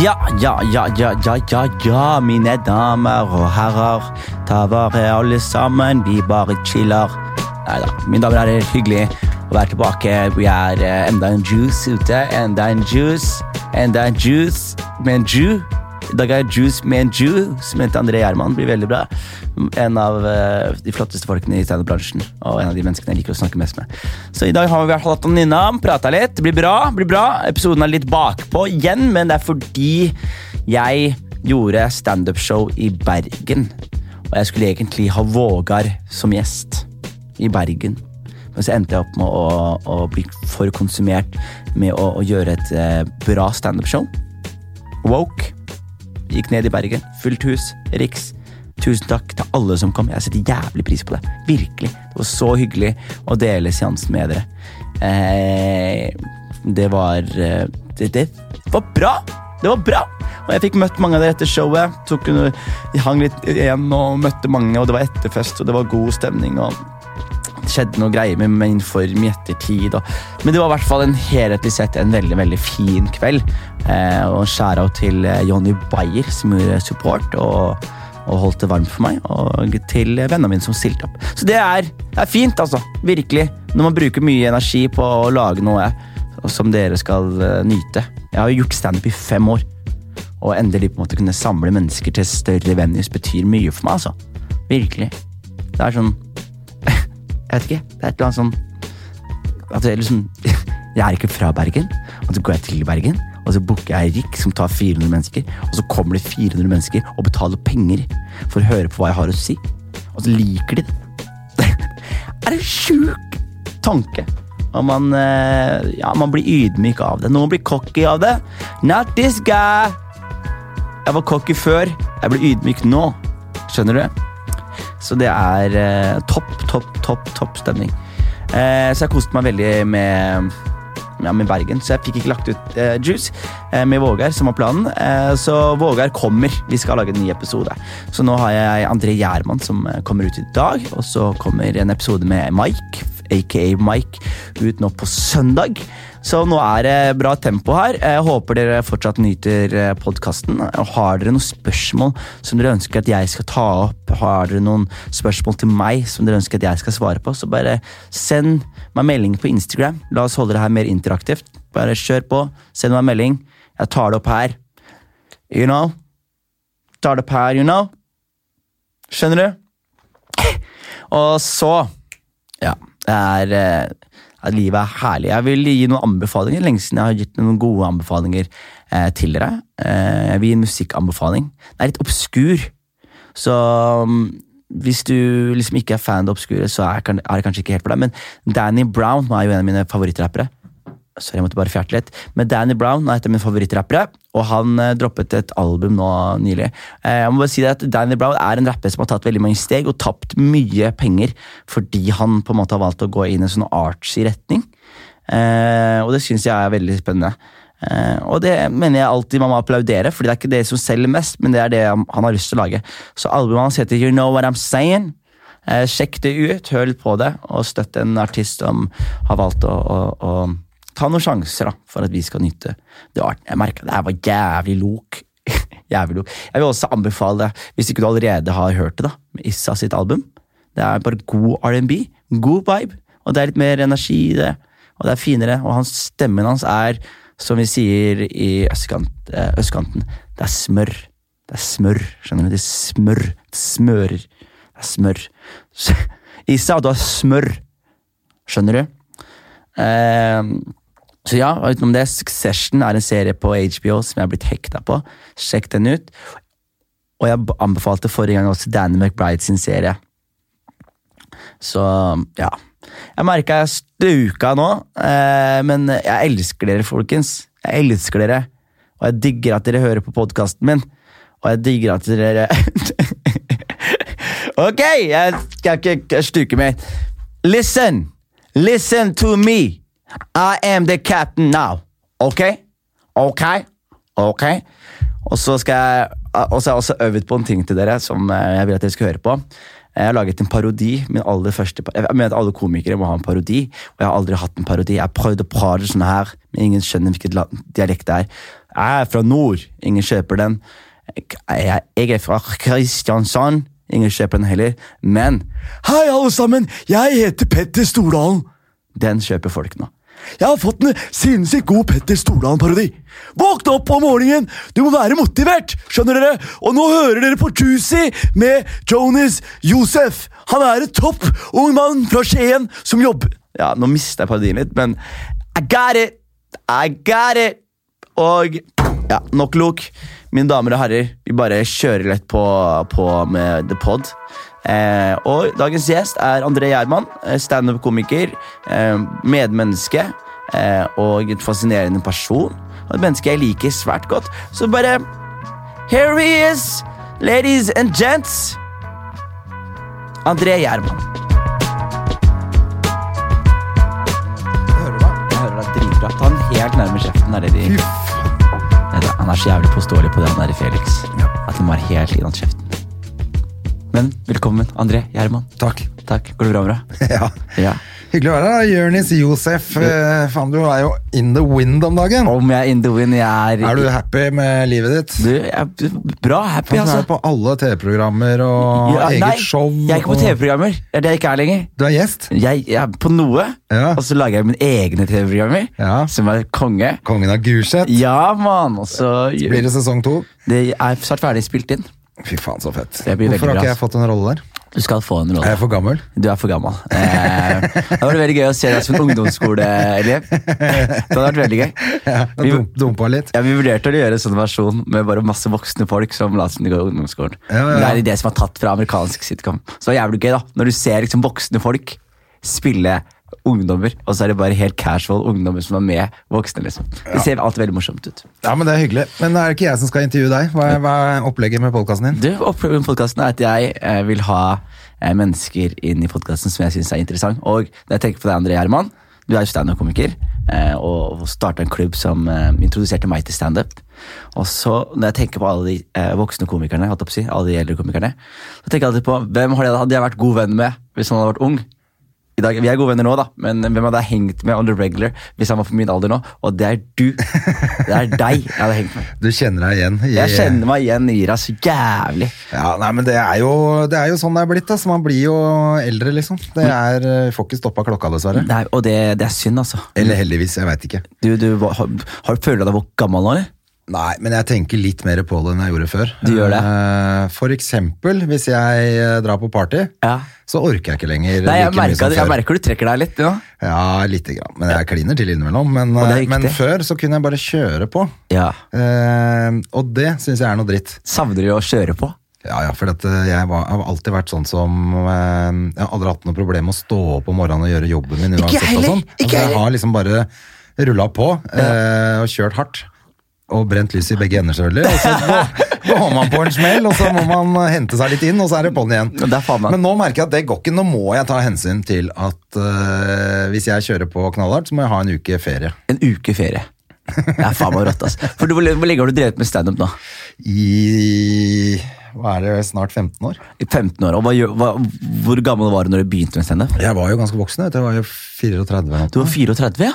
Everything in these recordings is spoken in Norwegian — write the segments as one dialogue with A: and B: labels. A: Ja, ja, ja, ja, ja, ja, ja, mine damer og herrer. Ta vare alle sammen, vi bare chiller. Nei da, mine damer og herrer, hyggelig å være tilbake. Vi er eh, enda en juice ute. Enda en juice, enda en juice med en ju. I dag er juice med en ju, som heter André Gjerman. Blir veldig bra. En av eh, de flotteste folkene i standup-bransjen. Og en av de menneskene jeg liker å snakke mest med. Så i dag har vi i hvert fall hatt han innom, prata litt. Det blir bra. det blir bra. Episoden er litt bakpå igjen, men det er fordi jeg gjorde standup-show i Bergen. Og jeg skulle egentlig ha Vågar som gjest i Bergen. Men så endte jeg opp med å, å bli for konsumert med å, å gjøre et eh, bra standup-show. Woke. Gikk ned i Bergen. Fullt hus. Riks. Tusen takk til alle som kom. Jeg setter jævlig pris på det. Virkelig. Det var så hyggelig å dele seansen med dere. Eh, det var eh, det, det var bra! Det var bra! Og jeg fikk møtt mange av dere etter showet. Tok, under- hang litt igjen og møtte mange, og det var etterfest, og det var god stemning. og det skjedde noe greier med min form i ettertid. Og, men det var i hvert fall en helhetlig sett en veldig veldig fin kveld. Eh, og skjæra til eh, Jonny Bayer, som gjorde support og, og holdt det varmt for meg. Og til eh, vennene mine som stilte opp. Så det er, det er fint, altså. Virkelig. Når man bruker mye energi på å lage noe som dere skal eh, nyte. Jeg har jo gjort standup i fem år. Og endelig på en måte kunne samle mennesker til større venues betyr mye for meg. altså. Virkelig. Det er sånn jeg vet ikke. Det er et eller annet sånn At jeg liksom Jeg er ikke fra Bergen, og så går jeg til Bergen, og så booker jeg Rik, som tar 400 mennesker, og så kommer det 400 mennesker og betaler penger for å høre på hva jeg har å si. Og så liker de det. Det er en sjuk tanke. Og man, eh, ja, man blir ydmyk av det. Noen blir cocky av det. Not this guy! Jeg var cocky før. Jeg blir ydmyk nå. Skjønner du? Så det er eh, topp, topp, topp, topp stemning. Eh, så jeg koste meg veldig med, ja, med Bergen, så jeg fikk ikke lagt ut eh, Juice eh, med Vågar, som var planen. Eh, så Vågar kommer. Vi skal lage en ny episode. Så nå har jeg André Gjerman som eh, kommer ut i dag, og så kommer en episode med Mike, aka Mike, ut nå på søndag. Så nå er det bra tempo her. Jeg håper dere fortsatt nyter podkasten. Har dere noen spørsmål som dere ønsker at jeg skal ta opp? Har dere noen spørsmål til meg som dere ønsker at jeg skal svare på? Så bare send meg melding på Instagram. La oss holde det her mer interaktivt. Bare kjør på. Send meg melding. Jeg tar det opp her. You know? Tar det opp her, you know? Skjønner du? Og så ja, det er eh, at Livet er herlig. Jeg vil gi noen anbefalinger. Lenge siden jeg har gitt noen gode anbefalinger eh, til dere. Eh, jeg vil gi en musikkanbefaling. Den er litt obskur. Så mm, hvis du liksom ikke er fan av obskure, så er, kan- er det kanskje ikke helt for deg. Men Danny Brown han er jo en av mine favorittrappere. Sorry, jeg måtte bare fjerte litt. Men Danny Brown er et av mine favorittrappere, og han eh, droppet et album nå nylig. Eh, jeg må bare si det at Danny Brown er en rapper som har tatt veldig mange steg og tapt mye penger fordi han på en måte har valgt å gå inn i en sånn artsy retning. Eh, og det syns jeg er veldig spennende. Eh, og det mener jeg alltid man må applaudere, Fordi det er ikke det som selger mest, men det er det han han har lyst til å lage. Så albumet hans heter You Know What I'm Saying. Eh, sjekk det ut, hør litt på det, og støtt en artist som har valgt å, å, å ta noen sjanser da, for at vi skal nyte det arten. Jeg merka det her var jævlig lok. jævlig lok. Jeg vil også anbefale, hvis ikke du allerede har hørt det, da, med Issa sitt album. Det er bare god R&B, god vibe, og det er litt mer energi i det, og det er finere, og hans, stemmen hans er, som vi sier i østkant, eh, østkanten, det er smør. Det er smør, skjønner du? Det er smør. Det smører. Det er smør. S- Isa, du har smør. Skjønner du? Ehm, så ja, og utenom det, Succession er en serie på HBO som jeg har blitt hekta på. Sjekk den ut. Og jeg b- anbefalte forrige gang også Danny McBride sin serie. Så ja. Jeg merka jeg stuka nå, eh, men jeg elsker dere, folkens. Jeg elsker dere. Og jeg digger at dere hører på podkasten min. Og jeg digger at dere Ok, jeg skal ikke stuke mer. Listen! Listen to me! I am the captain now. Ok? Ok? Ok? Og så skal jeg, og så har jeg også øvd på en ting til dere som eh, jeg vil at dere skal høre på. Jeg har laget en parodi. min aller første par- Jeg mener at Alle komikere må ha en parodi, og jeg har aldri hatt en parodi. Jeg har prøvd å prate sånn her, men ingen skjønner hvilket land- dialekt det er. Jeg er fra nord, ingen kjøper den. Jeg jeg er fra Kristiansand, ingen kjøper den heller. Men hei, alle sammen, jeg heter Petter Stordalen. Den kjøper folk nå. Jeg har fått en sinnssykt god Petter Stordalen-parodi. Våkne opp om morgenen, du må være motivert, skjønner dere? Og nå hører dere på Juicy med Jonis Josef. Han er en topp ung mann fra Skien som jobber Ja, nå mista jeg parodien litt, men I got it! I got it! Og ja, nok lok. Mine damer og herrer, vi bare kjører lett på, på med The Pod. Eh, og dagens gjest er André Gjerman, eh, standup-komiker, eh, medmenneske eh, og et fascinerende person. Og et menneske jeg liker svært godt. Så bare Here he is, ladies and gents. André Gjerman. Hører du deg? Jeg hører deg dritbra. Ta den helt nærme kjeften. Er det de... Nei, det- Han er så jævlig påståelig på det han er i Felix. At han må være helt innad kjeften. Men velkommen, André Gjerman.
B: Takk.
A: Takk. Går det bra med deg?
B: Ja.
A: Ja.
B: Hyggelig å være her. Jonis Josef, eh, faen, du er jo in the wind om dagen.
A: Om jeg er in the wind, jeg er
B: Er du happy med livet ditt?
A: Du, jeg er bra happy,
B: Faen, Du
A: altså.
B: er på alle TV-programmer og
A: Ja, nei,
B: eget show.
A: jeg er ikke på
B: og-
A: TV-programmer. Det er det jeg ikke er lenger.
B: Du er gjest.
A: Jeg, jeg er på noe,
B: Ja.
A: og så lager jeg mine egne TV-programmer,
B: Ja.
A: som er konge.
B: Kongen av Gulset.
A: Ja, mann! Og så
B: Blir
A: Det
B: det sesong to?
A: er snart ferdig spilt inn.
B: Fy faen, så fett.
A: Det blir veldig
B: Hvorfor har
A: bra,
B: ikke jeg
A: altså.
B: fått en rolle der?
A: Du skal få en
B: Er
A: rolle.
B: jeg for gammel?
A: Du er for gammel. Eh, det var veldig gøy å se deg som en ungdomsskoleelev. Det hadde vært veldig gøy.
B: Jeg
A: Vi,
B: dum- dumpa litt.
A: ja, vi vurderte å gjøre en sånn versjon med bare masse voksne folk som la seg gå i ungdomsskolen.
B: Ja, ja,
A: Men Det
B: ja.
A: er det som er tatt fra amerikansk sitcom. Så det var jævlig gøy da, når du ser liksom voksne folk spille ungdommer, og så er det bare helt casual ungdommer som er med voksne. liksom. Det ser alt veldig morsomt ut.
B: Ja, men Det er hyggelig. Men det er ikke jeg som skal intervjue deg. Hva er, hva er opplegget med podkasten
A: Du,
B: din?
A: Oppfølgingen med podkasten er at jeg eh, vil ha eh, mennesker inn i podkasten som jeg syns er interessant. Og når jeg tenker på deg, André Gjerman, du er jo standup-komiker. Eh, og og starta en klubb som eh, introduserte meg til standup. Og så, når jeg tenker på alle de eh, voksne komikerne, holdt jeg på å si, alle de eldre komikerne, så tenker jeg alltid på hvem har det, hadde jeg vært god venn med hvis han hadde vært ung? I dag, vi er gode venner nå, da, men hvem hadde jeg hengt med on the regular hvis han var på min alder nå? Og det er du. Det er deg jeg hadde hengt med.
B: Du kjenner deg igjen? i-
A: Jeg kjenner meg igjen i deg så jævlig.
B: Ja, nei, men det er, jo, det er jo sånn det er blitt. Altså. Man blir jo eldre, liksom. Det
A: Mm.
B: er, eh, Får ikke stoppa klokka, dessverre.
A: Nei, og det, det er synd, altså.
B: Eller heldigvis, jeg veit ikke.
A: Du, du, hva- har, har du følt deg hvor gammel nå, eller?
B: Nei, men jeg tenker litt mer på det enn jeg gjorde før.
A: Du gjør det?
B: Eh, For eksempel, hvis jeg eh, drar på party,
A: Ja.
B: så orker jeg ikke lenger
A: Nei, jeg
B: like mye
A: merker,
B: som
A: det- jeg
B: før.
A: merker du trekker deg litt. Ja.
B: Ja, lite grann. Men jeg kliner til innimellom. Men,
A: Og det er
B: eh, men
A: riktig.
B: før så kunne jeg bare kjøre på.
A: ja.
B: Eh, og det syns jeg er noe dritt.
A: Savner du å kjøre på?
B: Ja, ja, for at eh, jeg var, har alltid vært sånn som eh, Jeg har aldri hatt noe problem med å stå opp om morgenen og gjøre jobben min uansett.
A: jeg heller,
B: og sånn.
A: ikke jeg
B: altså, jeg
A: heller.
B: har liksom bare rulla på eh, og kjørt hardt. Og brent lys i begge ender, selvfølgelig. Og så gå- går man på en smell, og så må man eh, hente seg litt inn, og så er det på'n igjen.
A: Ja, det er faen meg.
B: Men nå merker jeg at det går ikke. Nå må jeg ta hensyn til at eh, hvis jeg kjører på knallhardt, så må jeg ha en uke ferie.
A: En uke ferie. Det er faen meg rått, ass. For du, hvor lenge hvor lenge har du drevet med standup nå?
B: I hva er det, snart 15 år?
A: I 15 år. Og hva, gjør- hva, hvor gammel var du når du begynte med standup?
B: Jeg var jo ganske voksen. vet du. Jeg var jo 34. eller noe.
A: Du var 34, ja?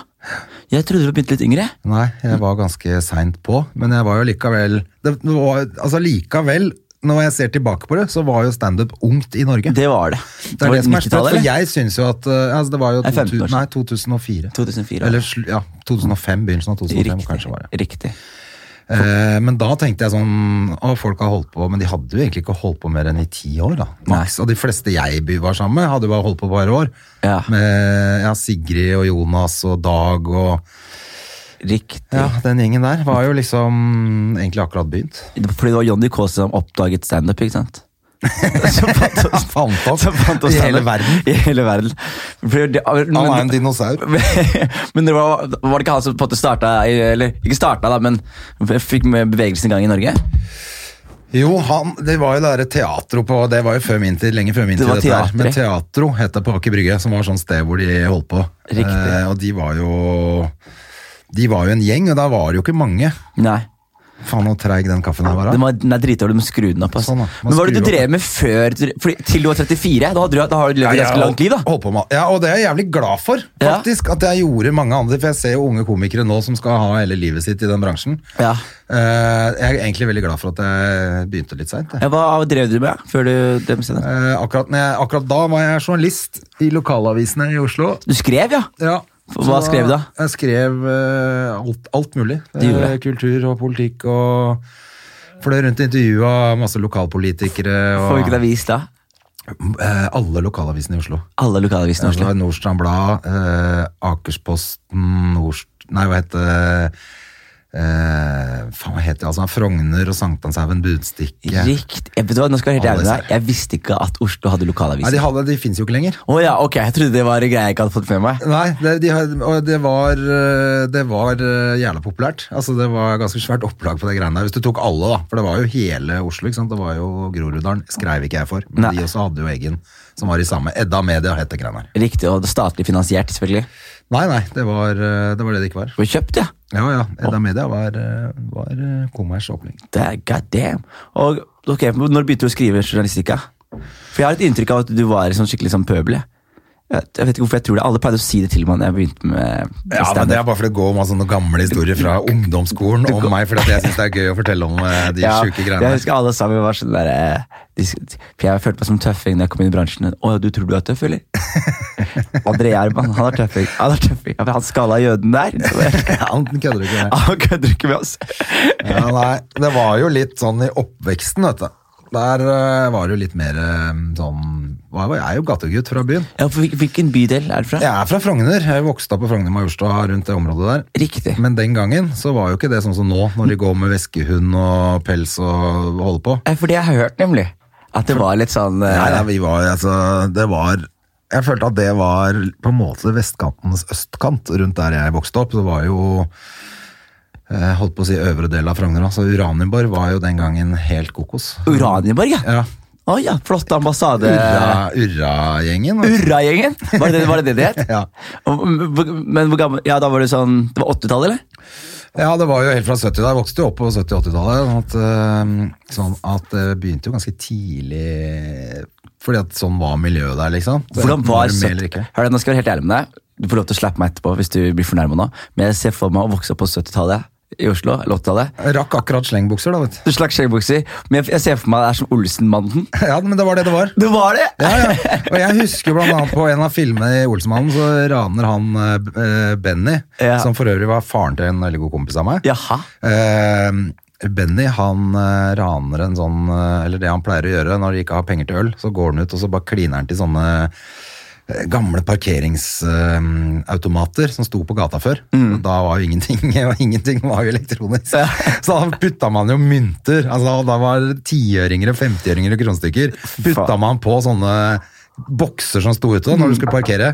A: Jeg trodde du begynte litt yngre.
B: Nei, jeg var ganske seint på, men jeg var jo likevel det var, Altså likevel, når jeg ser tilbake på det, så var jo standup ungt i Norge.
A: Det var det.
B: det er
A: var
B: det som er sprøtt,
A: 90-tallet,
B: for
A: eller?
B: jeg syns jo at eh, altså Det var jo
A: Nei, 15 år
B: 2000,
A: siden.
B: nei, 2004.
A: 2004,
B: Eller slu- ja, 2005, begynnelsen av 2005 kanskje var
A: Riktig.
B: det.
A: Riktig.
B: Eh, men da tenkte jeg sånn Å, folk har holdt på, men de hadde jo egentlig ikke holdt på mer enn i ti år, da. Maks. Og de fleste jeg by- var sammen med, hadde jo bare holdt på et par år.
A: Ja.
B: Med ja, Sigrid og Jonas og Dag og
A: Riktig.
B: Ja, den gjengen der var jo liksom egentlig akkurat begynt.
A: Fordi det var Johnny Kaas som oppdaget standup, ikke sant? Som fant oss,
B: Fant opp
A: som fant oss
B: i hele
A: standup.
B: verden.
A: I hele verden. For det-
B: Han er
A: men-
B: en dinosaur.
A: men det var, var det ikke han som på en måte starta Eller ikke starta, da, men fikk med bevegelsen i gang i Norge?
B: Jo, han, det var jo det derre teatro på Det var jo før min tid, lenge før min
A: Det
B: tid.
A: var
B: dette her.
A: teatret.
B: Men teatro het det på Aker Brygge, som var sånn sted hvor de holdt på.
A: Riktig.
B: Eh, og de var jo De var jo en gjeng, og da var det jo ikke mange.
A: Nei.
B: Faen, så treig den kaffen her var.
A: Den,
B: da.
A: var, den er dritdårlig, du må skru den opp. Altså.
B: Sånn, da. Man
A: Men hva er det du
B: skrur opp.
A: drev med før du- fordi, Til du var 34? Da, hadde du, da har du levd et
B: Ja, jeg
A: ganske langt liv, da.
B: holdt på med- Ja, og det er jeg jævlig glad for,
A: Ja.
B: faktisk. At jeg gjorde mange andre, for jeg ser jo unge komikere nå som skal ha hele livet sitt i den bransjen.
A: Ja.
B: Eh, jeg er egentlig veldig glad for at jeg begynte litt seint.
A: Ja, Hva drev du med før du drev med standup?
B: Eh, akkurat, når jeg- akkurat da var jeg journalist i lokalavisene i Oslo.
A: Du skrev, ja?
B: Ja.
A: Hva
B: Så
A: skrev du da?
B: Jeg skrev eh, alt, alt mulig.
A: Du gjorde det.
B: Eh, Kultur og politikk og fløy rundt og intervjua masse lokalpolitikere. Og,
A: For hvilken avis da?
B: Eh, alle lokalavisene i Oslo.
A: Alle lokalavisene i
B: Det
A: Oslo.
B: var Nordstrand Blad, eh, Akersposten, Nordst... Nei, hva heter det? Eh, faen, hva heter det? Altså, Frogner og Sankthanshaugen Budstikke.
A: Rikt. Jeg, vet du hva, nå skal jeg være helt ærlig
B: Alle
A: med deg. Jeg visste ikke at Oslo hadde
B: Nei,
A: lokalaviser.
B: de, hadde, de finnes jo ikke lenger.
A: Å ja, ok, jeg trodde det var en greie jeg ikke hadde fått med meg.
B: Nei, det, de, har- og det var, eh, det var eh, jævla populært. Altså, det var ganske svært opplag på det greiene der. Hvis du tok alle, da. For det var jo hele Oslo. ikke sant? Det var jo Groruddalen. Skreiv ikke jeg for. Men
A: Nei.
B: de også hadde jo egen, som var i samme. Edda Media het det greiene her.
A: Riktig, og statlig finansiert, selvfølgelig.
B: Nei, nei, det var, eh, det var det det ikke var.
A: Du har kjøpt, ja.
B: Ja, ja. Edda Media var, eh, var eh, kommers åpning.
A: Det er god damn. Og ok, når begynte du å skrive journalistikk? da? For jeg har et inntrykk av at du var sånn skikkelig sånn pøbel. jeg. Jeg jeg vet ikke hvorfor jeg tror det. Alle pleide å si det til meg da jeg begynte med med
B: Ja, men
A: standup.
B: Det er bare for å gå med sånne gamle historier fra ungdomsskolen om meg, fordi at jeg syns det er gøy å fortelle om eh, de
A: Ja,
B: sjuke greiene.
A: Jeg husker alle sammen var sånn der eh, de, For jeg følte meg som tøffing da jeg kom inn i bransjen. Å, du tror du er tøff, eller? André Gjerman, han er tøffing. Han er tøffing. Ja, men Han skalla jøden der. Så det-
B: Han kødder ikke med.
A: Han kødder ikke med oss.
B: Ja, nei, det var jo litt sånn i oppveksten, vet du. Der eh, var det jo litt mer eh, sånn hva var- Jeg er jo gategutt fra byen.
A: Ja, for hvil- Hvilken bydel er du fra?
B: Jeg er fra Frogner. Jeg vokste opp på Frogner Majorstua rundt det området der.
A: Riktig.
B: Men den gangen så var jo ikke det sånn som nå, når de går med veskehund og pels og holder på.
A: Eh, For det jeg har hørt, nemlig. At det var litt sånn eh,
B: Nei, nei, vi var, altså, det var Jeg følte at det var på en måte vestkantens østkant. Rundt der jeg vokste opp, så var jo eh, Holdt på å si øvre del av Frogner. Altså Uranienborg var jo den gangen helt kokos.
A: Uranienborg, ja.
B: Ja.
A: Å ja, flott ambassade.
B: Urra- Urra-gjengen. altså.
A: Urra-gjengen? var, det- var det det det het?
B: Ja.
A: Og- Men hvor gammel Ja, da var det sånn Det var 80-tallet, eller?
B: ja, det var jo helt fra 70 da. Jeg vokste jo opp på 70-80-tallet. Sånn, at, eh, sånn at det begynte jo ganske tidlig Fordi at sånn var miljøet der, liksom. Så
A: Hvordan
B: enten
A: var
B: det med eller
A: 70
B: ikke.
A: Hør da, nå skal jeg være helt ærlig med deg. Du får lov til å slappe meg etterpå hvis du blir fornærma nå. Men jeg ser for meg å vokse opp på 70-tallet i Oslo. eller 80-tallet.
B: Jeg Rakk akkurat slengbukser, da, vet du.
A: Du slags skjeggbukser. Men jeg jeg ser for meg det er som Olsenmannen.
B: Ja, men det var det det var.
A: Det var det!
B: Ja, ja. Og jeg husker blant annet på en av filmene i Olsmannen, så raner han eh, B- eh, Benny,
A: Ja.
B: som for øvrig var faren til en veldig god kompis av meg.
A: Jaha.
B: Eh, Benny han eh, raner en sånn, eh, eller det han pleier å gjøre når de ikke har penger til øl, så går han ut og så bare kliner han til sånne eh, gamle parkeringsautomater eh, som sto på gata før. Da var jo ingenting, og ingenting var jo elektronisk. Så da putta man jo mynter, altså da var det tiøringer og femtiøringer og kronestykker. Putta man på sånne bokser som sto ute når du skulle parkere.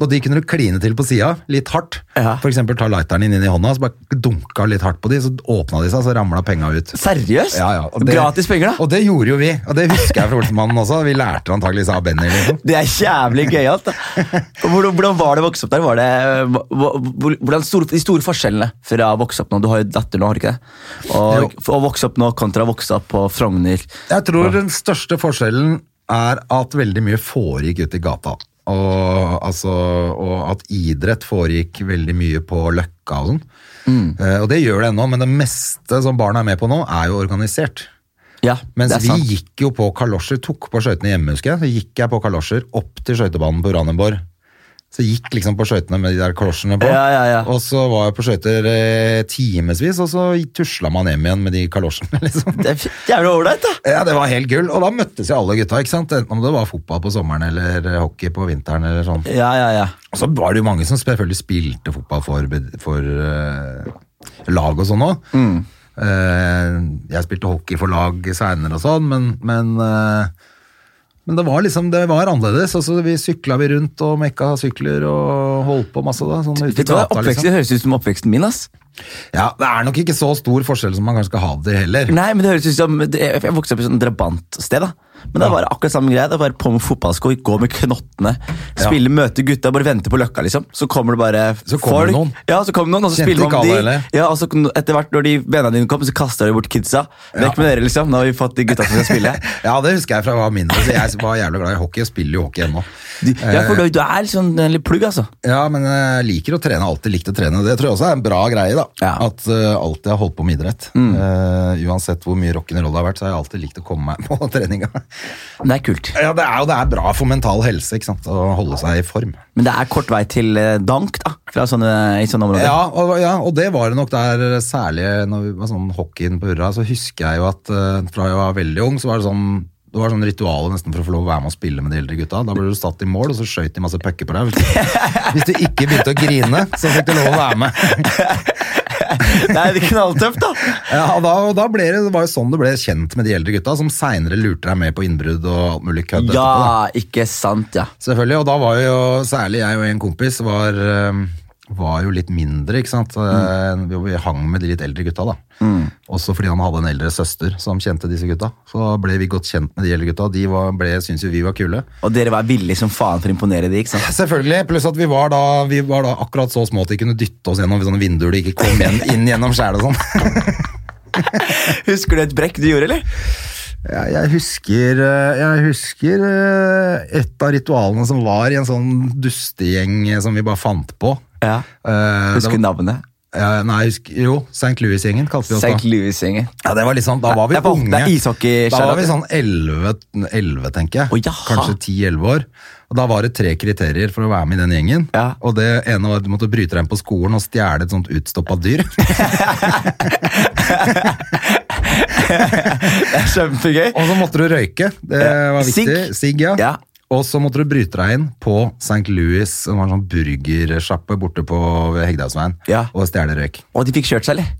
B: Og de kunne du kline til på sida, litt hardt.
A: Ja.
B: For eksempel ta lighteren din inn i hånda, så bare dunka litt hardt på de, så åpna de seg, så ramla penga ut.
A: Seriøst?
B: Ja, ja. og
A: Gratis penger, da?
B: Og det gjorde jo vi, og det husker jeg fra Olsemannen også. Vi lærte antakeligvis av Benny. Liksom.
A: Det er jævlig gøyalt. da. Hvordan, hvordan var det å vokse opp der? Var det, hva- hvor- hvordan store, de store forskjellene fra å vokse opp nå Du har jo datter nå, har du ikke det? Og, for å vokse opp nå kontra å vokse opp på Frogner.
B: Jeg tror den største forskjellen er at veldig mye foregikk ute i gata. Og, altså, og at idrett foregikk veldig mye på Løkka og sånn.
A: Mm.
B: Eh, og det gjør det ennå, men det meste som barna er med på nå, er jo organisert.
A: Ja,
B: Mens
A: det er
B: vi
A: sant.
B: gikk jo på kalosjer, tok på skøytene hjemme, husker jeg. Så gikk jeg på kalosjer opp til skøytebanen på Uranienborg. Så gikk liksom på skøytene med de der kalosjene på.
A: Ja, ja, ja.
B: Og så var jeg på skøyter eh, timevis, og så tusla man hjem igjen med de kalosjene, liksom.
A: Det er f- jævlig ålreit, da.
B: Ja, det var helt gull. Og da møttes jo alle gutta, ikke sant. Enten om det var fotball på sommeren eller eh, hockey på vinteren eller sånn.
A: Ja, ja, ja.
B: Og så var det jo mange som selvfølgelig spilte fotball for, bed- for eh, lag og sånn òg.
A: Mm.
B: jeg spilte hockey for lag seinere og sånn, men, men eh, men det var liksom, det var annerledes. Altså, vi sykla vi rundt og mekka sykler og holdt på masse. da, sånn ute i
A: Vet du hva,
B: gata
A: Oppveksten
B: liksom.
A: høres ut som oppveksten min. ass
B: Ja, Det er nok ikke så stor forskjell som man kanskje skal ha det heller.
A: Nei, men det høres ut som Jeg vokste opp i et sånt drabantsted. da Men det var akkurat samme greie. Det var på med fotballsko, gå med knottene, spille, møte gutta, bare vente på løkka, liksom. Så kommer det bare
B: Så kommer det noen.
A: Ja, så kommer det noen, og så
B: Kjente
A: spiller
B: ikke
A: man
B: alle,
A: de.
B: eller?
A: Ja, og så kun- etter hvert når de vennene dine kom, så kasta de bort kidsa. Vekk med dere, liksom. Nå har vi fått de gutta som skal spille.
B: Ja, det husker jeg fra jeg var mindre. Så jeg var jævlig glad i hockey, og spiller jo hockey ennå.
A: De,
B: Eh.
A: ja, for du, du er liksom en litt plugg, altså.
B: Ja, men jeg liker å trene, alltid likt å trene. Det tror jeg også er en bra greie, da.
A: Ja.
B: At eh, alltid har holdt på med idrett. Eh, uansett hvor mye rock'n'roll det har vært, så har jeg alltid likt å komme meg på treninga.
A: Men det er kult.
B: Ja, det er jo det er bra for mental helse, ikke sant. Å holde seg i form.
A: Men det er kort vei til eh, dank, da. Fra sånne, I sånne områder.
B: Ja og, ja, og det var det nok der, særlig når vi var sånn hockeyen på Hurra, så husker jeg jo at eh, fra jeg var veldig ung, så var det sånn det var sånn ritual nesten for å få lov å være med og spille med de eldre gutta. Da ble du satt i mål, og så skjøt de masse pucker på deg. Hvis du ikke begynte å grine, så fikk du lov å være med.
A: Det er knalltøft, da.
B: Ja, og da, og da ble det, det var jo sånn du ble kjent med de eldre gutta, som seinere lurte deg med på innbrudd og alt mulig kødd. etterpå, da.
A: Ja, ikke sant, ja.
B: Selvfølgelig, og da var jo særlig jeg og en kompis var, eh, var jo litt mindre, ikke sant? Eh, Vi, vi hang med de litt eldre gutta da. Også fordi han hadde en eldre søster som kjente disse gutta. Så ble vi godt kjent med de eldre gutta, de var, ble, syntes jo vi var kule.
A: Og dere var villige som faen for å imponere de, ikke sant?
B: Selvfølgelig, pluss at vi var da, vi var da akkurat så små at de kunne dytte oss gjennom sånne vinduer de ikke kom igjen, inn gjennom skjæret og sånn.
A: Husker du et brekk du gjorde, eller?
B: Ja, Jeg husker, eh, jeg husker eh, et av ritualene som var i en sånn dustegjeng eh, som vi bare fant på.
A: Ja.
B: Eh, det
A: Husker du navnet?
B: Ja, nei, jeg husker, jo, St. Louis-gjengen kalte vi oss da.
A: St. Louis-gjengen.
B: Ja, det var litt sånn, da var vi
A: Det er på-
B: unge.
A: det er ishockey,
B: Da var vi
A: Charlotte.
B: sånn 11, 11 tenker jeg.
A: Å, jaha.
B: Kanskje 10-11 år. Og da var det tre kriterier for å være med i den gjengen.
A: Ja.
B: Og det ene var at du måtte bryte deg inn på skolen og stjele et sånt utstoppa dyr.
A: Det er kjempegøy.
B: og så måtte du røyke, det var viktig.
A: Sigg.
B: Sigg, ja.
A: Ja.
B: Og så måtte du bryte deg inn på St. Louis, som var en sånn burgersjappe borte på Hegdalsveien,
A: Ja.
B: og stjele røyk.
A: Og de fikk kjørt seg, eller?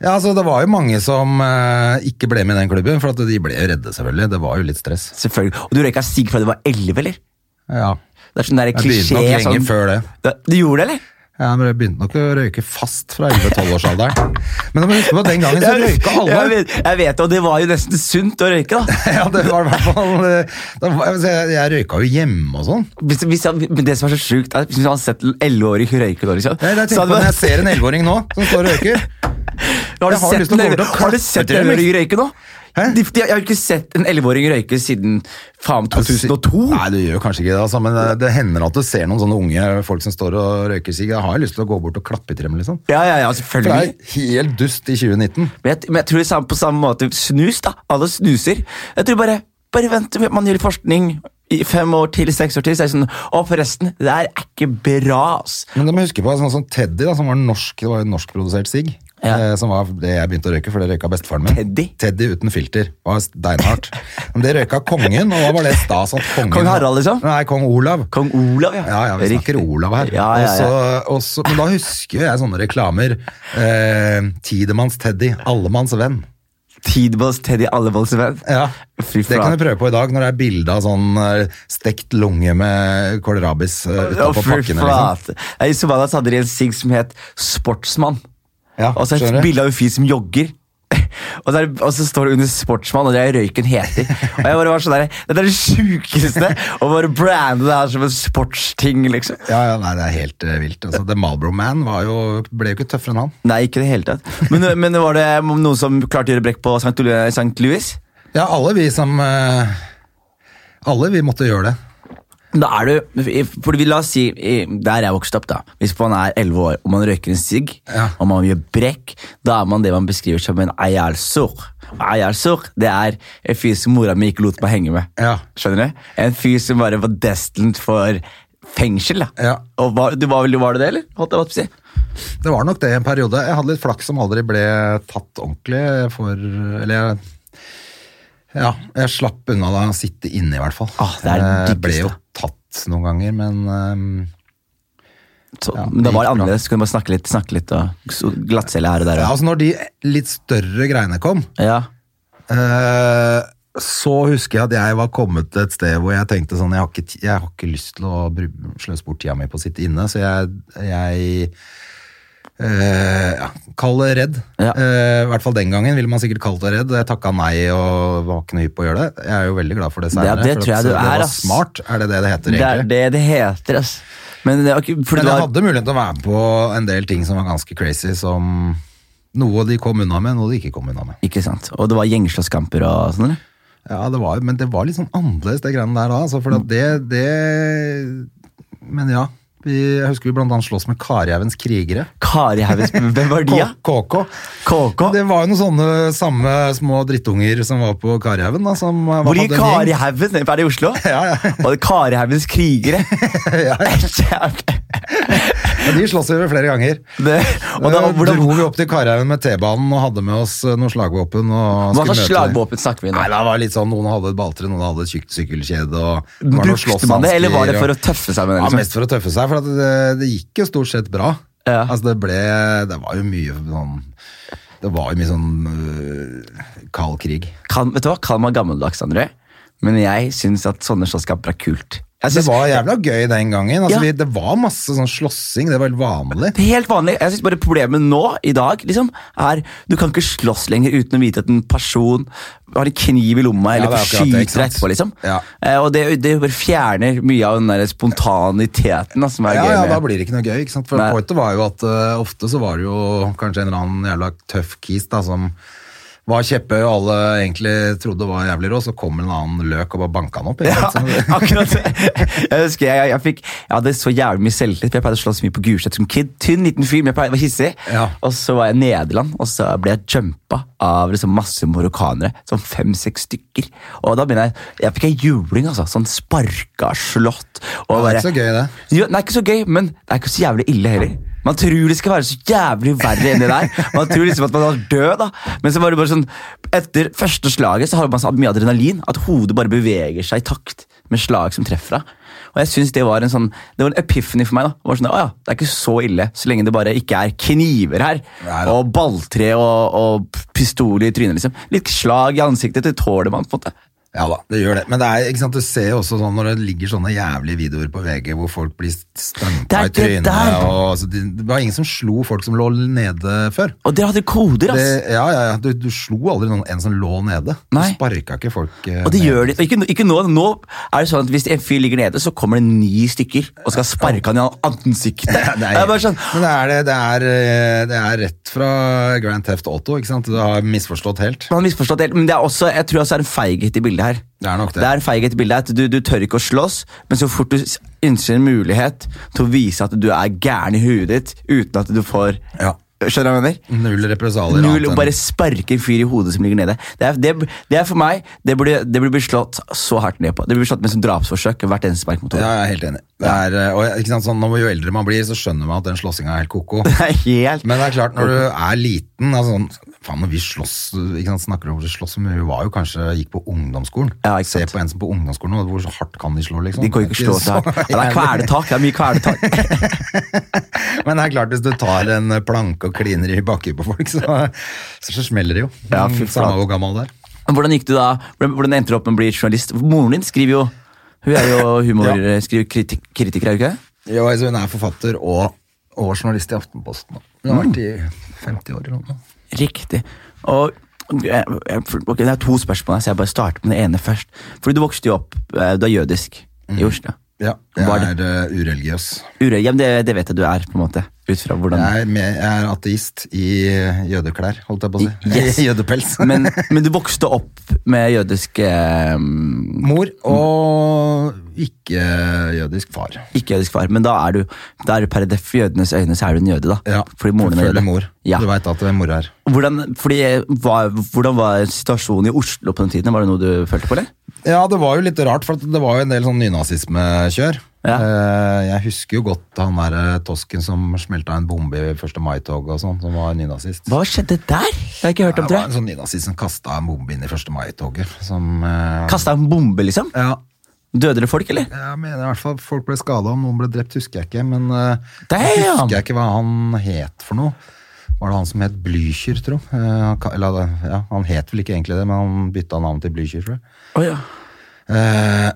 B: Ja, altså Det var jo mange som eh, ikke ble med i den klubben, for at de ble jo redde, selvfølgelig. Det var jo litt stress.
A: Selvfølgelig. Og du røyka sigg fra du var 11, eller?
B: Ja.
A: Det er sånn der
B: Jeg begynte
A: klisjé.
B: nok lenge
A: sånn-
B: før det.
A: Ja, Du gjorde det, eller?
B: Ja, men Jeg begynte nok å røyke fast fra 11-12-årsalderen. Men du må huske på at den gangen så røyka
A: Jeg
B: alle.
A: vet, jeg vet, og det var jo nesten sunt å røyke, da.
B: Ja, det var i hvert fall eh, da var- altså, Jeg jeg røyka jo hjemme og sånn.
A: Hvis, hvis jeg, men det som er så sjukt, er at hvis man hadde sett en 11-åring røyke nå, liksom
B: Det er det jeg
A: så
B: tenker
A: hadde
B: på
A: man-
B: Når jeg ser en 11-åring nå som står og røyker
A: Har du
B: Jeg har lyst
A: sett
B: til
A: en
B: å gå
A: 11
B: over til
A: har
B: å
A: du
B: klappe
A: sett
B: til
A: en
B: dem,
A: 11-åring røyke nå?
B: Hæ?
A: De, de, jeg har ikke sett en 11-åring røyke siden faen
B: Altså,
A: 2002.
B: Nei, du gjør kanskje ikke det, altså, men eh, det hender at du ser noen sånne unge folk som står og røyker sigg. Da har jeg lyst til å gå bort og klappe til dem, liksom.
A: Ja, ja, ja,
B: For det
A: selvfølgelig.
B: er helt dust i 2019.
A: Men jeg, men jeg tror det er samme, på samme måte snus, da. Alle snuser. Jeg tror bare, bare vent, man gjør forskning i fem år til, seks år til, så er det sånn Å, forresten, det der er ikke bra, ass.
B: Men det må jeg huske på, sånn som Teddy, da, som var norsk, det var jo norskprodusert sigg,
A: Ja.
B: eh, som var det jeg begynte å røyke, for det røyka bestefaren min.
A: Teddy?
B: Teddy uten filter. Var steinhardt. Men det røyka kongen, og da var det stas at kongen
A: Kong Harald, liksom?
B: Nei, kong Olav.
A: Kong Olav, ja.
B: Ja, ja, vi snakker
A: Riktig.
B: Olav her.
A: Ja, ja, ja.
B: Og så- og så- men da husker jeg sånne reklamer. Eh, Tidemanns Teddy, allemanns venn.
A: Tidballs Teddy Allevolds venn.
B: Ja,
A: Fy
B: Det kan
A: faen.
B: du prøve på i dag, når det er bilde av sånn eh, stekt lunge med kålrabis eh,
A: Å,
B: utapå
A: fy
B: pakkene. Liksom.
A: flate. Nei, I Somalia så hadde de en sigg som het Sportsmann.
B: Ja,
A: og så et
B: skjønner.
A: bilde av en fyr som jogger. Og, der, og så står det under 'sportsmann', og det er røyken heter. Og jeg bare var sånn der, Det er det sjukeste! Å bare brande det her som en sportsting, liksom.
B: Ja, ja, nei, det er helt eh, vilt. Altså, The Marlboro Man var jo, ble jo ikke tøffere enn han.
A: Nei, ikke i det hele tatt. Men, men var det noen som klarte å gjøre brekk på St. Louis?
B: Ja, alle vi som eh, Alle vi måtte gjøre det.
A: Da er du, fordi vi La oss si i- der jeg vokste opp, da. Hvis man er 11 år og man røyker en sigg
B: Ja.
A: og man gjør brekk, da er man det man beskriver som en ayalsur. Ayalsur, det er en fyr som mora mi ikke lot meg henge med.
B: Ja.
A: Skjønner du? En fyr som bare var destined for fengsel. da.
B: Ja.
A: Og var, du var, vel- var det det, eller? Holdt jeg på å si.
B: Det var nok det en periode. Jeg hadde litt flaks som aldri ble tatt ordentlig for Eller jeg- Ja, jeg slapp unna da å sitte inne, i hvert fall.
A: Ah, det er det
B: jeg ble
A: diggeste.
B: jo tatt noen ganger, men ehm,
A: Så,
B: Ja,
A: men da var det
B: det gikk bra.
A: annerledes. Så kunne man bare snakke litt, snakke litt og så glattcelle her og der.
B: ja,
A: Og.
B: altså Når de litt større greiene kom,
A: Ja.
B: Eh, så husker jeg at jeg var kommet til et sted hvor jeg tenkte sånn, jeg har ikke, ti- jeg har ikke lyst til å bru- sløse bort tida mi på å sitte inne, så jeg, jeg eh, ja, Kall det redd.
A: Ja.
B: Eh, I hvert fall den gangen ville man sikkert kalt det redd. Jeg takka nei og var ikke noe hypp på å gjøre det. Jeg er jo veldig glad for det
A: Ja,
B: seinere.
A: det tror jeg du
B: det
A: er,
B: var
A: ass.
B: smart, er det det det heter
A: Det er
B: egentlig?
A: det det heter, ass. Men det er ikke fordi
B: Men
A: du
B: jeg
A: har
B: hadde mulighet til å være med på en del ting som var ganske crazy, som noe de kom unna med, noe de ikke kom unna med.
A: Ikke sant. Og det var gjengslåsskamper og sånn, eller?
B: Ja, det var, men det var litt sånn annerledes, det greiene der da. Altså, for at det, det Men ja. Vi, jeg husker vi blant annet slåss med Karjevens krigere.
A: Kari Hauges Hvem var de, da?
B: K- KK.
A: KK?
B: Det var jo noen sånne samme små drittunger som var på Karjehaugen. da, som, eh,
A: Hvor
B: hadde
A: gikk
B: en gjeng.
A: Karihaugen? Er det i Oslo?
B: Ja, ja.
A: Var det Karihaugens krigere?
B: Ja, Ja, de slåss vi ved flere ganger.
A: det, og da,
B: Eh,
A: hvordan,
B: dro vi opp til Karjehaugen med T-banen og hadde med oss eh, noen slagvåpen. Og
A: hva slags
B: skulle møte dem.
A: slagvåpen snakker vi
B: Nei,
A: nå?
B: det var litt sånn, Noen hadde et balltre, noen hadde et tjukt sykkelkjede. Og det var noen
A: Brukte man det, eller var det
B: slåsshansker,
A: for å
B: og-
A: tøffe seg med
B: Ja,
A: det? Liksom?
B: Mest for å tøffe seg, for at det, det gikk jo stort sett bra.
A: Ja.
B: Altså Det ble Det var jo mye sånn Det var jo mye sånn øh, kald krig.
A: Kall, vet du hva, kall meg gammeldags, André, men jeg syns at sånne slåsskamper er kult. Jeg
B: Det
A: synes,
B: var jævla gøy den gangen.
A: Ja.
B: Altså, vi, det var masse sånn slåssing, det var helt vanlig.
A: det er helt vanlig. Jeg synes bare Problemet nå i dag liksom, er du kan ikke slåss lenger uten å vite at en person har en kniv i lomma eller
B: det er akkurat
A: skyter
B: det, ikke
A: deg
B: sant?
A: etterpå. Liksom.
B: Ja.
A: Eh, og det, det bare fjerner mye av den der spontaniteten da, som er
B: Ja,
A: gøy.
B: ja,
A: med-
B: Da blir det ikke noe gøy. ikke sant? For
A: Nei.
B: Pointet var jo at eh, ofte så var det jo kanskje en eller annen jævla tøff kis da, som var kjepphøy og alle egentlig trodde var jævlig rå, så kom en annen løk og bare banka han opp. ikke
A: Ja,
B: sant? Så-
A: akkurat det. Jeg husker jeg, jeg, jeg fikk Jeg hadde så jævlig mye selvtillit, for jeg pleide å slåss mye på Gulset som kid. Tynn, liten fyr, men jeg pleide, var hissig.
B: Ja.
A: Og så var jeg i Nederland, og så ble jeg jumpa av liksom masse marokkanere. Sånn fem-seks stykker. Og da begynner jeg Jeg fikk ei juling, altså. Sånn sparka, slått. Og
B: Ja, det er ikke så gøy, det.
A: Jo, det er ikke så gøy, men det er ikke så jævlig ille heller. Man tror det skal være så jævlig verre enn det der. Man tror liksom at man er død, da. Men så var det bare sånn Etter første slaget så har man så mye adrenalin at hodet bare beveger seg i takt med slag som treffer deg. Og jeg synes Det var en sånn Det var en epiphany for meg. da Det var sånn, «Å ja, Det er ikke så ille så lenge det bare ikke er kniver her.
B: Nei da.
A: Og balltre og, og pistol i trynet, liksom. Litt slag i ansiktet, det tåler man. på en måte
B: Ja da, det gjør det. Men det er, ikke sant, du ser jo også sånn når det ligger sånne jævlige videoer på VG hvor folk blir
A: Det
B: stampa
A: er
B: i
A: det
B: trynet.
A: der.
B: Og, altså, det, det var ingen som slo folk som lå nede før.
A: Og dere hadde koder, ass!
B: Det, ja, ja, ja, du, du slo aldri noen, en som lå nede.
A: Nei.
B: Du sparka ikke folk eh,
A: Og det
B: ned.
A: gjør de. og Ikke, ikke nå, nå er det sånn at hvis en fyr ligger nede, så kommer det ni stykker og skal sparke han i ansiktet.
B: Ja, det
A: Jeg er bare sånn,
B: Men det er, det, det, er, eh, det er rett fra Grand Theft Auto, ikke sant? Du har misforstått helt.
A: man har misforstått helt, men det er også, jeg tror også er en feighet i bildet her.
B: Det er nok det.
A: Det er en feighet i bildet her, at du, du tør ikke å slåss, men så fort du s- innser en mulighet til å vise at du er gæren i huet ditt, uten at du får...
B: Ja.
A: Skjønner du hva jeg mener?
B: Null represalier.
A: Null
B: annet
A: og
B: enn-
A: bare sparke en fyr i hodet som ligger nede. Det er, det, det er for meg, det burde, det burde bli slått så hardt ned på. Det burde bli slått med som drapsforsøk, hvert eneste spark mot
B: ja,
A: hodet.
B: jeg er helt enig. Det er, eh, og, ikke sant, sånn, når- jo eldre man blir, så skjønner man at den slåssinga er helt ko-ko.
A: Det er helt...
B: Men det er klart, når du er liten altså, sånn, Faen, når vi slåss ikke sant, Snakker om å slåss, men vi var jo kanskje Gikk på ungdomsskolen.
A: Ja, ikke
B: Se
A: sant.
B: på en som på ungdomsskolen, og hvor hardt kan de slå, liksom?
A: De kan jo ikke slå
B: så
A: tak. Ja, det er kvelertak. Det er mye kvelertak.
B: jævlig. Men det er klart, hvis du tar en planke og kliner i bakken på folk, så, så, så smeller det jo. Mm,
A: Ja, fy flate.
B: Samme hvor gammel det er.
A: Men Hvordan gikk du da? Hvordan hvordan endte du opp med å bli journalist? Moren din skriver jo Hun er jo humor, eh, skriver kritik kritiker, er hun ikke det?
B: Jo, altså, hun er forfatter og, og journalist i Aftenposten. da. Hun har vært i 50 år eller noe.
A: Riktig. Og eh, ok, Det er to spørsmål, her, så jeg bare starter med det ene først. Fordi du vokste jo opp eh, Du er jødisk i Oslo.
B: Ja,
A: Var
B: jeg
A: det-
B: er eh, ureligiøs.
A: Ure, ja, men det, det vet jeg du er, på en måte. Ut fra hvordan
B: Jeg er, med, jeg er ateist i eh, jødeklær, holdt jeg på å si.
A: Yes.
B: I jødepels.
A: men, men du vokste opp med jødisk eh,
B: mor og ikke-jødisk far.
A: ikke-jødisk far, men da er du, da er du per def jødenes øyne så er du en jøde, da. Fordi moren din er
B: Forfølger
A: jøde.
B: mor.
A: Ja.
B: Du veit at det er mor her.
A: Hvordan, fordi, hva, hvordan var situasjonen i Oslo på den tiden? Var det noe du følte på, eller?
B: Ja, det var jo litt rart, for at det var jo en del sånn nynazismekjør.
A: Ja.
B: Eh, Jeg husker jo godt han derre tosken som smelta en bombe i 1. mai-toget og sånn, som var nynazist.
A: Hva skjedde der? Det har jeg ikke hørt
B: Det
A: om,
B: var
A: tror
B: en
A: jeg.
B: sånn nynazist som kasta en bombe inn i 1. mai-toget, som eh,
A: Kasta en bombe, liksom?
B: Ja.
A: Døde det folk, eller?
B: Jeg mener i hvert fall folk ble skada, om noen ble drept husker jeg ikke, men eh, jeg
A: Damn!
B: husker jeg ikke hva han het for noe. Var det han som het Blücher, tro? Eh, han ka- eller, ja, han het vel ikke egentlig det, men han bytta navn til Blücher, tror jeg.
A: Å, ja.
B: Eh,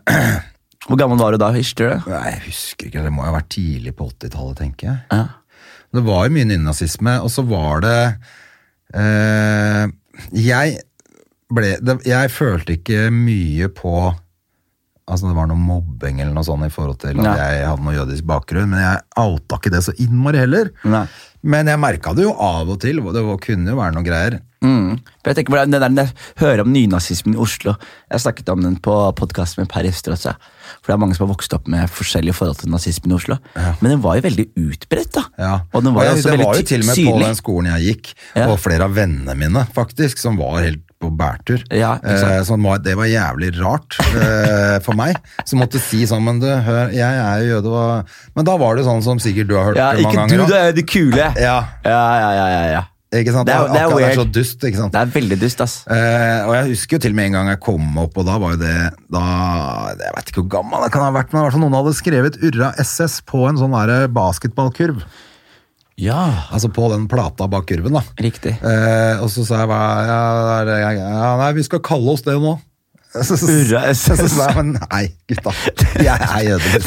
A: Hvor gammel var du da? Husker du det?
B: nei, jeg husker ikke, det må jo ha vært tidlig på 80-tallet, tenker jeg.
A: Ja.
B: Det var jo mye nynazisme, og så var det eh, Jeg ble det, Jeg følte ikke mye på Altså det var noe mobbing eller noe sånt i forhold til at
A: Nei.
B: jeg hadde noe jødisk bakgrunn, men jeg outa ikke det så innmari heller.
A: Nei.
B: Men jeg merka det jo av og til, og det var, kunne jo være noe greier.
A: Mm. For jeg tenker på det, det der, når jeg hører om nynazismen i Oslo Jeg snakket om den på podkasten med Per Ester også. For det er mange som har vokst opp med forskjellige forhold til nazismen i Oslo. Men den var jo veldig utbredt, da.
B: Ja.
A: Og den var jo
B: jeg-
A: også
B: det
A: veldig
B: var jo til og med på
A: synlig.
B: den skolen jeg gikk,
A: Ja.
B: og flere av vennene mine faktisk, som var helt på bærtur.
A: Ja, ikke sant.
B: Eh, så det var jævlig rart eh, for meg, som måtte si sånn, men du, hør, jeg er jo jøde, hva Men da var det sånn som sikkert du har hørt
A: Ja,
B: det
A: ikke
B: mange ganger.
A: du,
B: også.
A: du er jo det kule.
B: Ja,
A: ja, ja, ja, ja, ja.
B: ikke sant?
A: Det er- det er
B: Akkurat det
A: weird.
B: er så dust, ikke sant?
A: Det er veldig dust, ass.
B: Eh, og jeg husker jo til og med en gang jeg kom opp, og da var jo det da, Jeg vet ikke hvor gammel det kan ha vært, men det var sånn noen hadde skrevet Urra SS på en sånn der basketballkurv.
A: Ja,
B: Altså på den plata bak kurven, da.
A: Riktig.
B: Eh, og så sa jeg bare ja, det er- ja, Nei, vi skal kalle oss det nå.
A: Urra SS.
B: Så sa jeg, men nei, gutta. Jeg er jøde.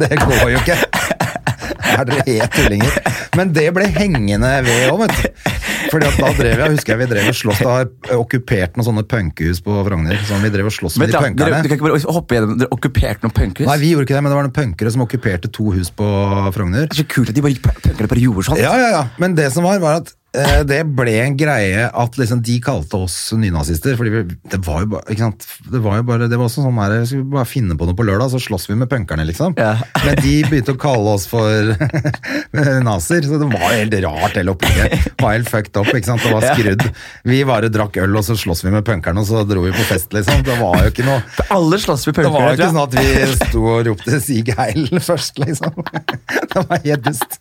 B: Det går jo ikke. Er dere helt tullinger? Men det ble hengende ved òg, vet du. Fordi at da drev jeg, husker jeg vi drev og slåss, da har jeg okkupert noen sånne punkehus på Frogner. Sånn vi drev og slåss
A: Vent
B: med
A: da,
B: de
A: dere, dere
B: punkerne.
A: kan ikke bare hoppe gjennom Dere okkuperte noen punkhus?
B: Nei, vi gjorde ikke det, men det var noen punkere som okkuperte to hus på Frogner.
A: Det er så kult at de bare, punkerne bare gjorde sånn.
B: Ja, ja, ja. Men det som var, var at eh, det ble en greie at liksom de kalte oss nynazister. fordi vi, det var jo bare ikke sant? Det var jo bare, det var også sånn her, skulle vi bare finne på noe på lørdag, så slåss vi med punkerne, liksom.
A: Ja.
B: Men de begynte å kalle oss for nazier, så det var jo helt rart hele opplegget. Det var helt fucked up, ikke sant? Det var
A: Ja.
B: skrudd. Vi bare drakk øl, og så slåss vi med punkerne, og så dro vi på fest, liksom. Det var jo ikke noe
A: For Alle slåss med
B: det var
A: punkere.
B: jo ikke
A: tror
B: sånn
A: jeg.
B: at vi sto og ropte 'Sig Heil' først, liksom. Det var helt dust.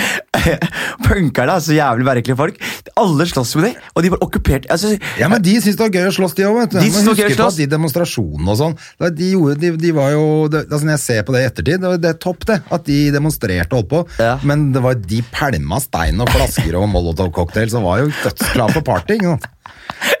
A: Punkerne er så jævlig merkelige folk. Alle slåss med dem, og de var okkupert. Altså,
B: Ja, men De syntes det var gøy å slåss, de òg.
A: De syntes det var gøy å slåss.
B: De demonstrasjonene og sånn. da De gjorde, de, de var jo, det, altså Når jeg ser på det i ettertid, det, var- det er topp det, at de demonstrerte og holdt på.
A: Ja.
B: Men det var de pælma stein og flasker og molotovcocktail, som var jo dødsglade på party. ikke sant?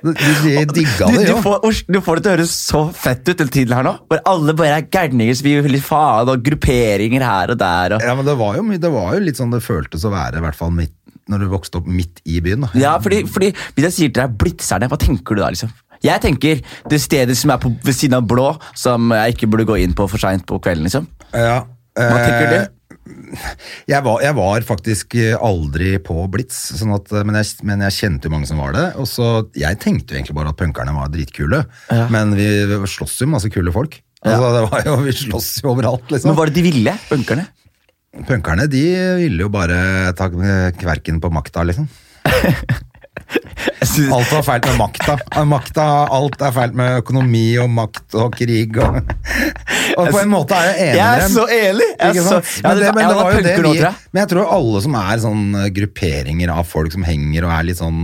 B: De, de, de digga
A: du,
B: det
A: du,
B: jo.
A: får, Ors- du får det til å høres så fett ut hele tiden her nå. Hvor alle bare er gærninger som gir litt faen, og grupperinger her og der. Og.
B: Ja, men det var jo, mye- det var jo litt sånn det føltes å være, i hvert fall midt, når du vokste opp midt i byen. da.
A: Ja, fordi, fordi Hvis jeg sier til deg Blitzerne, hva tenker du da? liksom? Jeg tenker det stedet som er på, ved siden av Blå, som jeg ikke burde gå inn på for seint på kvelden. liksom.
B: Ja. eh,
A: Hva tenker du?
B: Jeg var, jeg var faktisk eh, aldri på Blitz, sånn at, eh, men, jeg, men jeg kjente jo mange som var det. Og så, Jeg tenkte jo egentlig bare at punkerne var dritkule, men vi slåss jo med masse kule folk. Altså, det var jo, Vi slåss jo overalt,
A: Men
B: liksom.
A: var det de ville? Punkerne?
B: Punkerne de ville jo bare ta eh, kverken på makta, liksom.
A: Jeg synes-
B: Alt var feilt med makta. Eh, makta. Alt er feilt med økonomi og makt og krig og Og på en måte er jeg enig
A: Jeg er
B: med dem.
A: så enig! Jeg
B: Ikke
A: er så,
B: sant?
A: jeg
B: Men det-
A: hadde- jeg
B: men det
A: hadde
B: var jo
A: punker
B: det
A: nå,
B: vi-
A: tror jeg.
B: Men jeg tror alle som er sånn eh, grupperinger av folk som henger og er litt sånn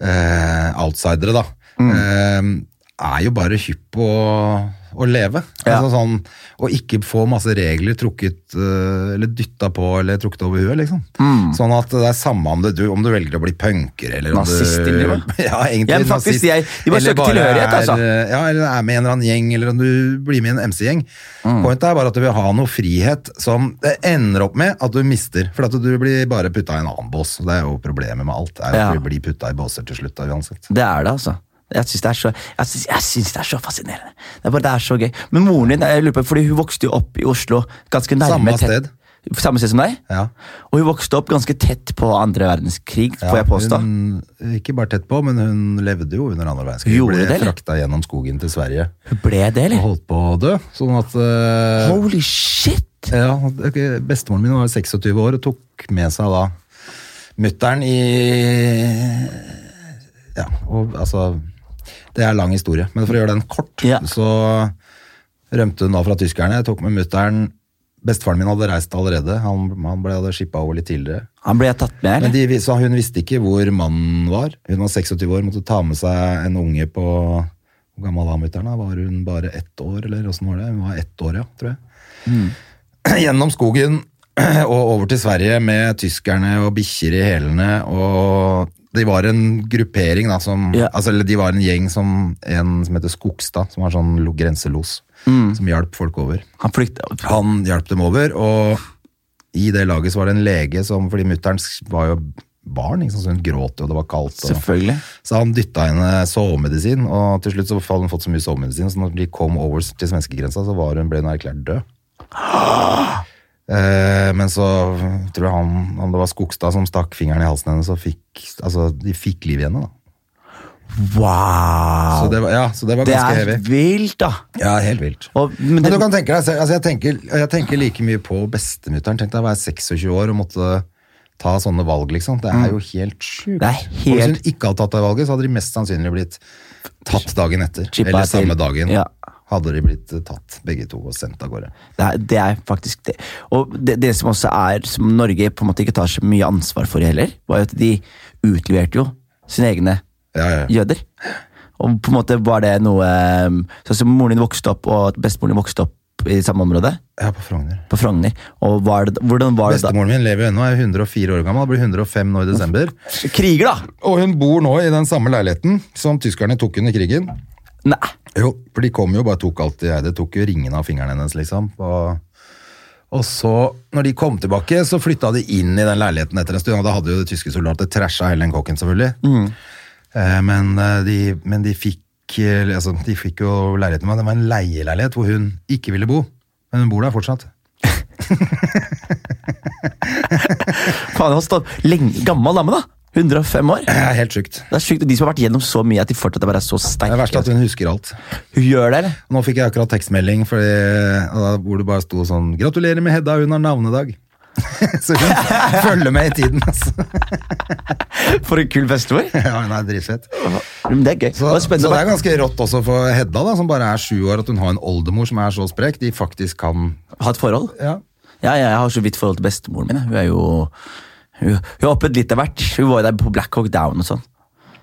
B: eh, outsidere, da,
A: Mm.
B: eh, er jo bare hypp på å- å leve.
A: Ja.
B: Altså sånn, og ikke få masse regler trukket eh, eller dytta på eller trukket over huet, liksom.
A: Mm.
B: Sånn at det er samme om du, om du velger å bli punker eller om
A: Nazist
B: du,
A: til og med.
B: Ja, egentlig
A: Ja, men faktisk,
B: nazist.
A: de er- de bare
B: Eller
A: søker tilhørighet,
B: er,
A: altså.
B: eh, Ja, eller er med i en eller annen gjeng, eller om du blir med i en MC-gjeng.
A: Mm.
B: Pointet er bare at du vil ha noe frihet som det ender opp med at du mister, for at du blir bare putta i en annen bås. og Det er jo problemet med alt, er
A: Ja.
B: at du blir putta i båser til slutt da, uansett.
A: Det er det, altså. Jeg syns det, er så- jeg synes, jeg synes det er så fascinerende. Det er bare, det er så gøy. Men moren din jeg lurer på, fordi hun vokste jo opp i Oslo ganske nærme
B: Samme
A: tett-
B: sted.
A: Samme sted som deg?
B: Ja.
A: Og hun vokste opp ganske tett på andre verdenskrig,
B: Ja,
A: får jeg påstå. Hun,
B: Hun, ikke bare tett på, men hun levde jo under andre verdenskrig.
A: Gjorde
B: Hun
A: det,
B: ble
A: eller?
B: frakta gjennom skogen til Sverige
A: ble det,
B: og
A: eller?
B: holdt på å dø. Sånn at eh,
A: Holy shit!
B: Ja, ok, bestemoren min var 26 år og tok med seg da mutteren i Ja, og altså Det er lang historie, men for å gjøre den kort,
A: Ja.
B: så rømte hun da fra tyskerne. Tok med mutteren. Bestefaren min hadde reist allerede, han, han ble hadde skippa over litt tidligere.
A: Han ble tatt med, eller?
B: Men de, så hun visste ikke hvor mannen var. Hun var 26 år, måtte ta med seg en unge på Hvor gammel var mutter'n? da? Var hun bare ett år, eller åssen var det? Hun var ett år, ja, tror jeg. Gjennom skogen og over til Sverige med tyskerne og bikkjer i hælene og de var en gruppering da, som,
A: Ja.
B: altså, eller de var en gjeng som en som heter Skogstad, som var sånn lo- grenselos, som hjalp folk over.
A: Han flykta.
B: Han hjalp dem over, og I det laget så var det en lege som Fordi mutter'n var jo barn, ikke sant? så hun gråt jo, det var kaldt. Og,
A: Selvfølgelig.
B: så han dytta henne sovemedisin, og til slutt så hadde hun fått så mye sovemedisin, så når de kom over til svenskegrensa, så var hun, ble hun erklært død. Eh, men så tror jeg han, om det var Skogstad som stakk fingeren i halsen hennes, og fikk, altså, de fikk liv i henne. Da. Så
A: Wow!
B: det var, ja, så det var
A: Det
B: ganske
A: er
B: heavy.
A: vilt, da.
B: Ja, helt vilt.
A: Og,
B: Men
A: men det,
B: du kan tenke deg, selv, altså jeg, tenker, jeg tenker like mye på bestemutteren. Tenk deg å være 26 år og måtte ta sånne valg, liksom. Det er jo helt sjukt.
A: Mm. Det er helt-
B: Og Hvis hun ikke hadde tatt det valget, så hadde de mest sannsynlig blitt tatt dagen etter.
A: Chippa
B: eller
A: til.
B: samme dagen.
A: Ja.
B: Hadde de blitt eh, tatt, begge to, og sendt av gårde.
A: det, er, det er faktisk det. Og det, det som også er, som Norge på en måte ikke tar så mye ansvar for heller, var jo at de utleverte jo sine egne
B: Ja, ja, ja.
A: jøder. Og på en måte var det noe um, Sånn som moren din vokste opp, og bestemoren din vokste opp i samme område,
B: ja på Frogner.
A: på Frogner. Og var det, hvordan var det da?
B: Bestemoren min lever jo ennå, er 104 år gammel, blir 105 nå i desember.
A: Kriger, da!
B: Og hun bor nå i den samme leiligheten som tyskerne tok under krigen.
A: Nei.
B: Jo, for de kom jo og bare tok alt de eide. Tok jo ringene av fingeren hennes, liksom. Og, og så, når de kom tilbake, så flytta de inn i den leiligheten etter en stund. Og da hadde jo de tyske soldater trasha hele den kokken, selvfølgelig. Eh, men, eh, de, men de fikk eh, altså, De fikk jo leiligheten, men det var en leieleilighet hvor hun ikke ville bo. Men hun bor der fortsatt.
A: Faen, hun har stått lenge, gammel dame, da! 105 år.
B: Det er helt sjukt.
A: Det er sykt, og De som har vært gjennom så mye at de fortsatt bare er så
B: Det er verst
A: sterke.
B: at hun husker alt.
A: Hun gjør det, eller?
B: Nå fikk jeg akkurat tekstmelding fordi, og da, hvor det bare sto sånn 'Gratulerer med Hedda, hun har navnedag'. så hun følger med i tiden, altså.
A: For en kul bestemor.
B: Ja, hun er dritfett.
A: Men det er gøy.
B: Så,
A: det var
B: så det
A: spennende.
B: er ganske rått også for Hedda, da, som bare er sju år, at hun har en oldemor som er så sprek. De faktisk kan
A: å ha et forhold.
B: Ja,
A: Ja, ja, jeg har så vidt forhold til bestemoren min. jeg. Hun er jo Hun, hun har opplevd litt av hvert. Hun var jo der på Black Hawk Down og sånn.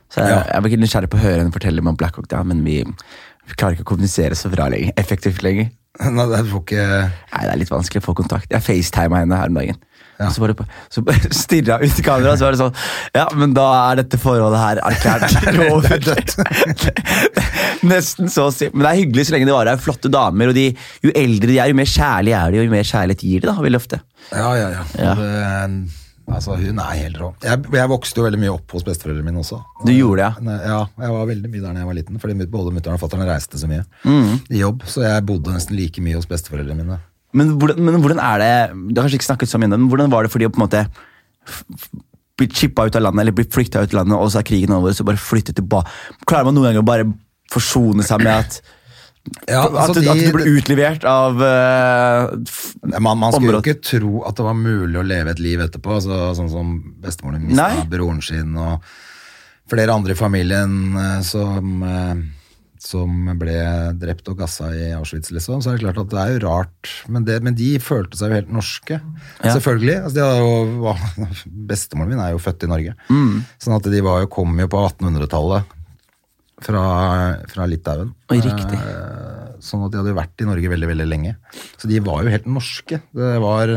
A: Så jeg,
B: Ja.
A: jeg var ikke nysgjerrig på å høre henne fortelle meg om Black Hawk Down, men vi, vi klarer ikke å kommunisere så bra lenger. Effektivt lenger.
B: Nei, det får ikke
A: Nei, Det er litt vanskelig å få kontakt. Jeg facetima henne her om dagen. Og Så, bare, så bare stirra hun ut i kameraet, så var det sånn Ja, men da er dette forholdet her erklært over. Nesten så å si. Men det er hyggelig så lenge det varer. Det er Flotte damer. Og de, jo eldre de er, jo mer kjærlige er de, og jo mer kjærlighet gir de, da, veldig ofte.
B: Ja, ja, ja. Det- altså, hun er helt rå. Jeg, jeg vokste jo veldig mye opp hos besteforeldrene mine også.
A: Du gjorde det, ja.
B: Nei, Ja, jeg var veldig mye der da jeg var liten, fordi både mutter'n og fatter'n reiste så mye
A: Mm.
B: i jobb, så jeg bodde nesten like mye hos besteforeldrene mine.
A: Men hvordan, men hvordan er det Du har kanskje ikke snakket så mye om det, men hvordan var det for de å på en måte f- f- bli chippa ut av landet, eller bli flytta ut av landet, og så er krigen over, og så bare flytte tilbake? Klarer man noen ganger å bare forsone seg med at
B: Ja, altså,
A: at, du, at du ble utlevert av eh, f-
B: Man, man skulle jo
A: Området.
B: ikke tro at det var mulig å leve et liv etterpå, altså, sånn som bestemoren min
A: Nei.
B: mista broren sin, og flere andre i familien eh, som, eh, som ble drept og gassa i Auschwitz, liksom. Så er det klart at det er jo rart, men, det, men de følte seg jo helt norske,
A: Ja.
B: selvfølgelig. Altså, de hadde jo, var- bestemoren min er jo født i Norge,
A: Mm.
B: sånn at de var jo, kom jo på 1800-tallet fra, fra Litauen.
A: Oi, riktig.
B: Eh, Sånn at de hadde jo vært i Norge veldig, veldig lenge. Så de var jo helt norske. Det var...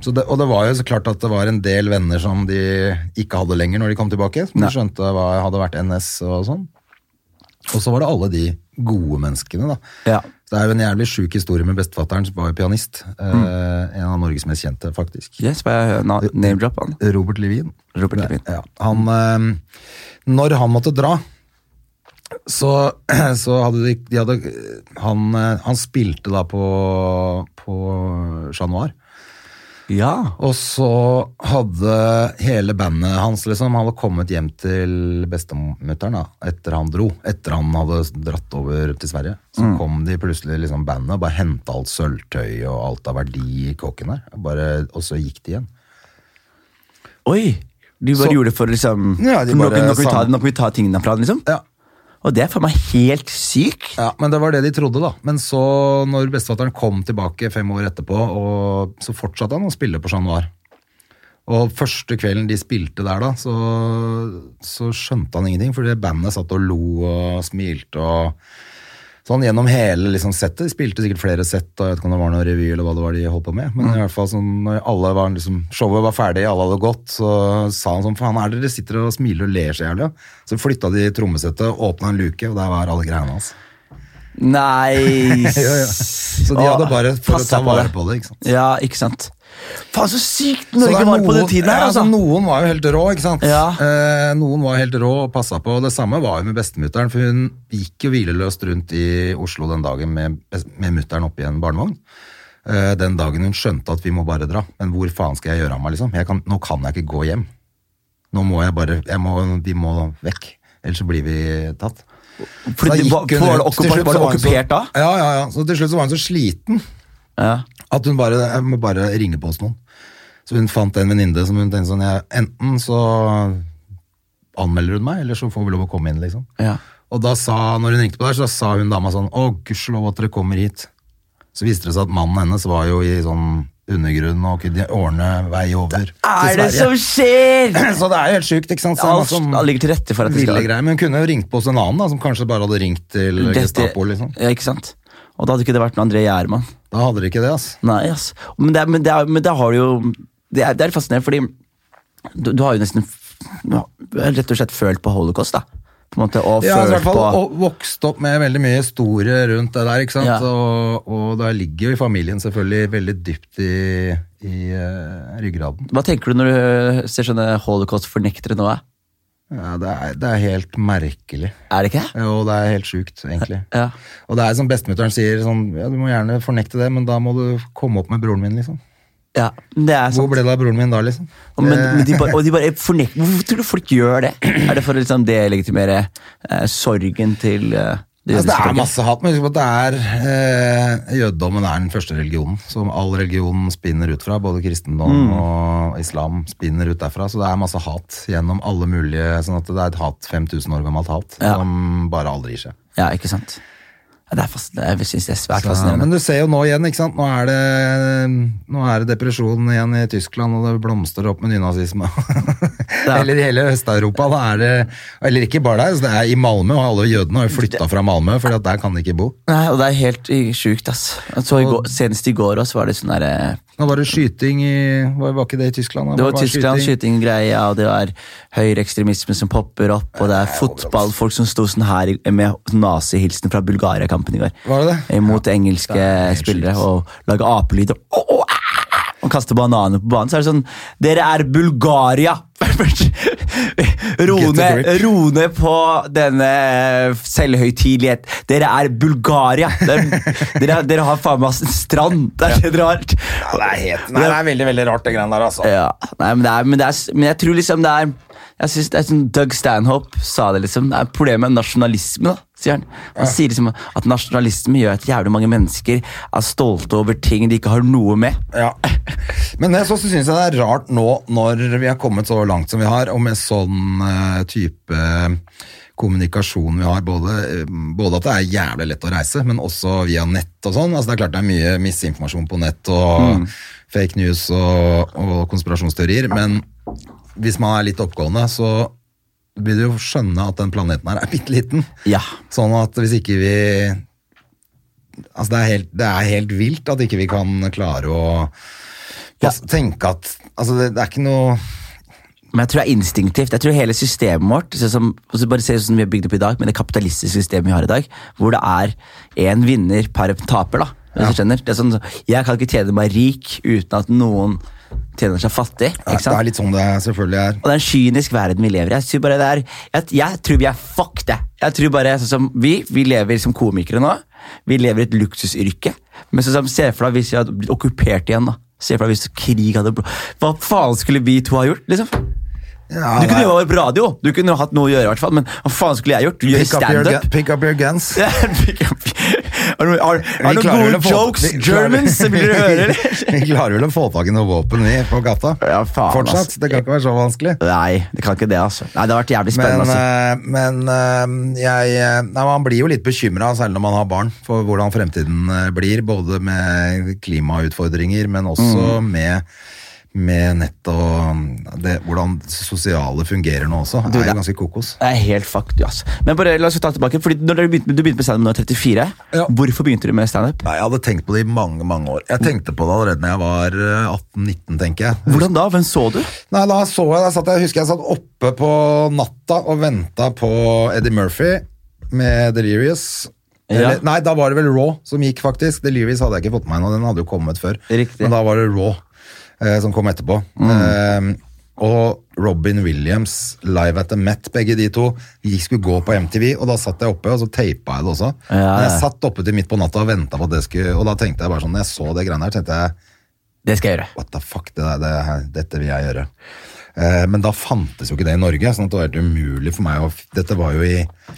B: Så det, og det var jo så klart at det var en del venner som de ikke hadde lenger når de kom tilbake. Som de skjønte hva hadde vært NS og sånn. Og så var det alle de gode menneskene, da.
A: Ja.
B: Så Det er jo en jævlig sjuk historie med bestefatteren som var jo pianist.
A: Mm.
B: Eh, en av Norges mest kjente, faktisk.
A: Yes, får jeg høre na- name-drop han?
B: Robert Levin.
A: Robert
B: Det-
A: Levin.
B: Ja. Han, eh, når han måtte dra, så, så hadde de, de hadde, han, eh, han spilte da på, på Chat Noir.
A: Ja.
B: Og så hadde hele bandet hans liksom, hadde kommet hjem til bestemutteren da, etter han dro. Etter han hadde dratt over til Sverige. Så kom de plutselig, liksom, bandet, og bare henta alt sølvtøy og alt av verdi i kåken der. Bare, og så gikk de igjen.
A: Oi! Du bare
B: Så-
A: gjorde det for liksom
B: Ja,
A: for
B: de
A: nå,
B: bare
A: kan- nå, kan vi ta,
B: sam-
A: nå kan vi ta tingene fra den, liksom?
B: Ja,
A: Og det er faen meg helt sykt!
B: Ja, men det var det de trodde, da. Men så, når bestefatteren kom tilbake fem år etterpå, og så fortsatte han å spille på Chat Noir. Og første kvelden de spilte der, da, så, så skjønte han ingenting, fordi bandet satt og lo og smilte og Sånn gjennom hele liksom, settet. De spilte sikkert flere sett, og jeg vet ikke om det var noen revy eller hva det var de holdt på med. Men i hvert fall sånn, når alle var, liksom, showet var ferdig, alle hadde gått, så sa han sånn Faen, er det dere sitter og smiler og ler så jævlig? av?» Så flytta de trommesettet, åpna en luke, og der var alle greiene hans.
A: Nice!
B: Ja, ja. Så de hadde bare for å ta vare på det, ikke sant?
A: Ja, ikke sant. Faen, så sykt
B: Så det
A: Norge
B: er
A: var på den
B: noen-
A: tiden her,
B: ja,
A: altså.
B: så Noen var jo helt rå, ikke sant?
A: Ja.
B: Eh, noen var helt rå og passa på. Det samme var jo med bestemutteren, for hun gikk jo hvileløst rundt i Oslo den dagen med, med mutteren oppi en barnevogn. Eh, den dagen hun skjønte at vi må bare dra. Men hvor faen skal jeg gjøre av meg, liksom? Jeg kan, nå kan jeg ikke gå hjem. Nå må jeg bare jeg må, Vi må vekk. Ellers så blir vi tatt.
A: Fordi
B: Så da
A: det
B: gikk
A: var-
B: hun
A: var det
B: rundt. Til
A: okkupert-
B: slutt
A: var det
B: så hun så-
A: okkupert da?
B: Ja, ja, ja. Så til slutt så var hun så sliten
A: Ja.
B: at hun bare jeg må bare ringe på hos noen. Så hun fant en venninne som hun tenkte sånn jeg, Enten så anmelder hun meg, eller så får vi lov å komme inn, liksom.
A: Ja.
B: Og da sa, når hun ringte på der, så sa hun dama sånn Å, gudskjelov at dere kommer hit. Så viste det seg at mannen hennes var jo i sånn undergrunn og kunne ordne vei over
A: Er det som
B: til Sverige.
A: skjer?!
B: Så det er jo helt sjukt, ikke sant? Så
A: Alt
B: det er masse
A: alt ligger til rette for at det
B: ville
A: skal
B: greier. Men hun kunne jo ringt på hos en annen, da, som kanskje bare hadde ringt til
A: Dette-
B: Gestapo, liksom.
A: Ja, ikke sant? Og da hadde ikke det vært noe André Gjermann.
B: Da hadde dere ikke det, altså.
A: Nei, ass. Men det, er- men det, er- men det har du jo Det er, det er fascinerende, fordi du, du har jo nesten f- ja, rett og slett følt på holocaust, da. På en måte, og
B: Ja, altså, i
A: følt
B: hvert fall,
A: på
B: og vokst opp med veldig mye historie rundt det der, ikke sant?
A: Ja.
B: Og, og det ligger jo i familien selvfølgelig veldig dypt i, i eh, ryggraden.
A: Hva tenker du når du ser sånne holocaust-fornektere nå? eh?
B: Ja, det, er, det er helt merkelig,
A: Er det ikke det?
B: og det er helt sjukt, egentlig.
A: Ja.
B: Og det er som bestemutteren sier, sånn, ja, du må gjerne fornekte det, men da må du komme opp med broren min, liksom.
A: ja det er sånn-
B: Hvor
A: sant.
B: ble det av broren min da, liksom?
A: Og, men, men de bare, og de bare fornek- Hvorfor tror du folk gjør det? Er det for å liksom delegitimere eh, sorgen til eh, det
B: Altså, det
A: jødiske
B: er
A: folket?
B: masse hat, men husk på at det er eh, jødedommen er den første religionen som all religion spinner ut fra. Både kristendom
A: Mm.
B: og islam spinner ut derfra. Så det er masse hat gjennom alle mulige sånn at det er et hat, 5000 år gammelt hat
A: Ja.
B: som bare aldri gir seg.
A: Ja, ikke sant? Ja, det er fast, det er, jeg synes det er svært
B: Så,
A: fascinerende.
B: men du ser jo nå igjen, ikke sant. Nå er det, nå er det depresjon igjen i Tyskland, og det blomstrer opp med nynazisme. eller i hele Øst-Europa. Da er det Eller ikke bare der. Så det er I Malmö, og alle jødene har jo flytta fra Malmö, for der kan de ikke bo.
A: Nei, og det er helt i- sjukt, ass. Jeg Så i går, senest i går også var det sånn derre
B: Nå var det skyting i Var, var ikke det i Tyskland? da?
A: Det var Tyskland,
B: skyting.
A: skytinggreie, og det var høyreekstremisme som popper opp, og det er fotballfolk som sto sånn her i- med nazihilsen fra Bulgaria-kampen i går.
B: Var det det?
A: Mot engelske
B: helt
A: spillere, og lage apelyder. Å, å, æ, æ, æ, Og kaste bananer på banen. Så er det sånn Dere er Bulgaria! ro,
B: Get a
A: ned,
B: grip.
A: ro ned på denne eh, selvhøytidelighet. Dere er Bulgaria! Dere, dere, dere har faen meg strand! Det er det dere har.
B: Ja, det er helt, nei, det er veldig veldig rart, det greiene der. altså.
A: Ja, nei, men, det er, men, det er, men jeg tror liksom det er Jeg synes det er sånn Doug Stanhope sa det liksom Det er problemet med nasjonalisme da, sier han Han sier liksom at nasjonalisme gjør at jævlig mange mennesker Er stolte over ting de ikke har noe med
B: Ja. Men jeg så syns jeg det er rart nå når vi har kommet så langt som vi har, og med sånn eh, type kommunikasjon vi har, både, eh, både at det er jævlig lett å reise, men også via nett og sånn. Altså Det er klart det er mye misinformasjon på nett og
A: Mm.
B: fake news og, og konspirasjonsteorier, men hvis man er litt oppgående, så vil du jo skjønne at den planeten her er bitte liten.
A: Ja,
B: Sånn at hvis ikke vi Altså det er helt, det er helt vilt at ikke vi kan klare å pass- tenke at Altså det, det er ikke noe
A: men jeg tror det er instinktivt Jeg tror hele systemet vårt sånn som, og så Bare se sånn vi har bygd opp i dag Med det kapitalistiske systemet vi har i dag Hvor det er en vinner per taper da Hvis du skjønner Det er sånn Jeg kan ikke tjene meg rik Uten at noen tjener seg fattig
B: Det
A: Ikke
B: er, det
A: sant?
B: er litt sånn det selvfølgelig er.
A: Og det er en kynisk verden vi lever i. Jeg tror, bare det er, jeg, jeg tror vi er fucked, jeg. jeg tror bare, sånn som vi, vi lever som komikere nå. Vi lever i et luksusyrke. Men sånn som, se for deg hvis vi hadde blitt okkupert igjen. da. Se for deg hvis krig hadde blå... Hva faen skulle vi to ha gjort? liksom?
B: Ja,
A: Du kunne
B: det
A: jo
B: er-
A: vært på radio, du kunne jo hatt noe å gjøre, i hvert fall, men hva faen skulle jeg gjort? Gjøre
B: pick, up your,
A: standup?
B: gu- pick up your guns.
A: Ja, pick up- Har du har- har du
B: Vi klarer vel
A: noen
B: å
A: gode
B: få-
A: jokes,
B: vi klarer-
A: Germans, som vil du høre, eller?
B: vi klarer vel å få tak i noe våpen vi på gata.
A: Ja, faen,
B: Fortsatt.
A: ass.
B: Det kan ikke være så vanskelig.
A: Nei, det kan ikke det, altså. Nei, Det har vært jævlig
B: Men,
A: spennende. altså.
B: eh, men eh, jeg, eh, nei, man blir jo litt bekymra, særlig når man har barn, for hvordan fremtiden eh, blir. Både med klimautfordringer, men også med, med nett og mm, det, hvordan det sosiale fungerer nå også. Det er
A: det-
B: jo ganske kokos.
A: Det er helt fucked, du, ass. Men bare la oss ta tilbake, fordi når du begynte, du begynte med standup når du var 34.
B: Ja.
A: Hvorfor begynte du med standup?
B: Nei, Jeg hadde tenkt på det i mange mange år. Jeg tenkte på det allerede når jeg var eh, 18-19, tenker jeg.
A: Hvordan da? Hvem så du?
B: Nei, da så jeg, da satt jeg, husker jeg satt oppe på natta og venta på Eddie Murphy med Delirious. Eller,
A: Ja.
B: Nei, da var det vel Raw som gikk, faktisk. Delirious hadde jeg ikke fått med meg nå, den hadde jo kommet før.
A: Riktig. Mm.
B: Men da var det Raw. eh, som kom etterpå. Eh, og Robin Williams, Live at the Met, begge de to. De skulle gå på MTV, og da satt jeg oppe, og så teipa jeg det også.
A: Ja,
B: Men jeg
A: ja.
B: satt oppe til midt på natta og venta på at det skulle Og da tenkte jeg bare sånn, når jeg så det greiene her, tenkte jeg
A: Det skal jeg gjøre.
B: What the fuck, det der, det, her- dette vil jeg gjøre. Eh, men da fantes jo ikke det i Norge, sånn at det var helt umulig for meg å Dette var jo i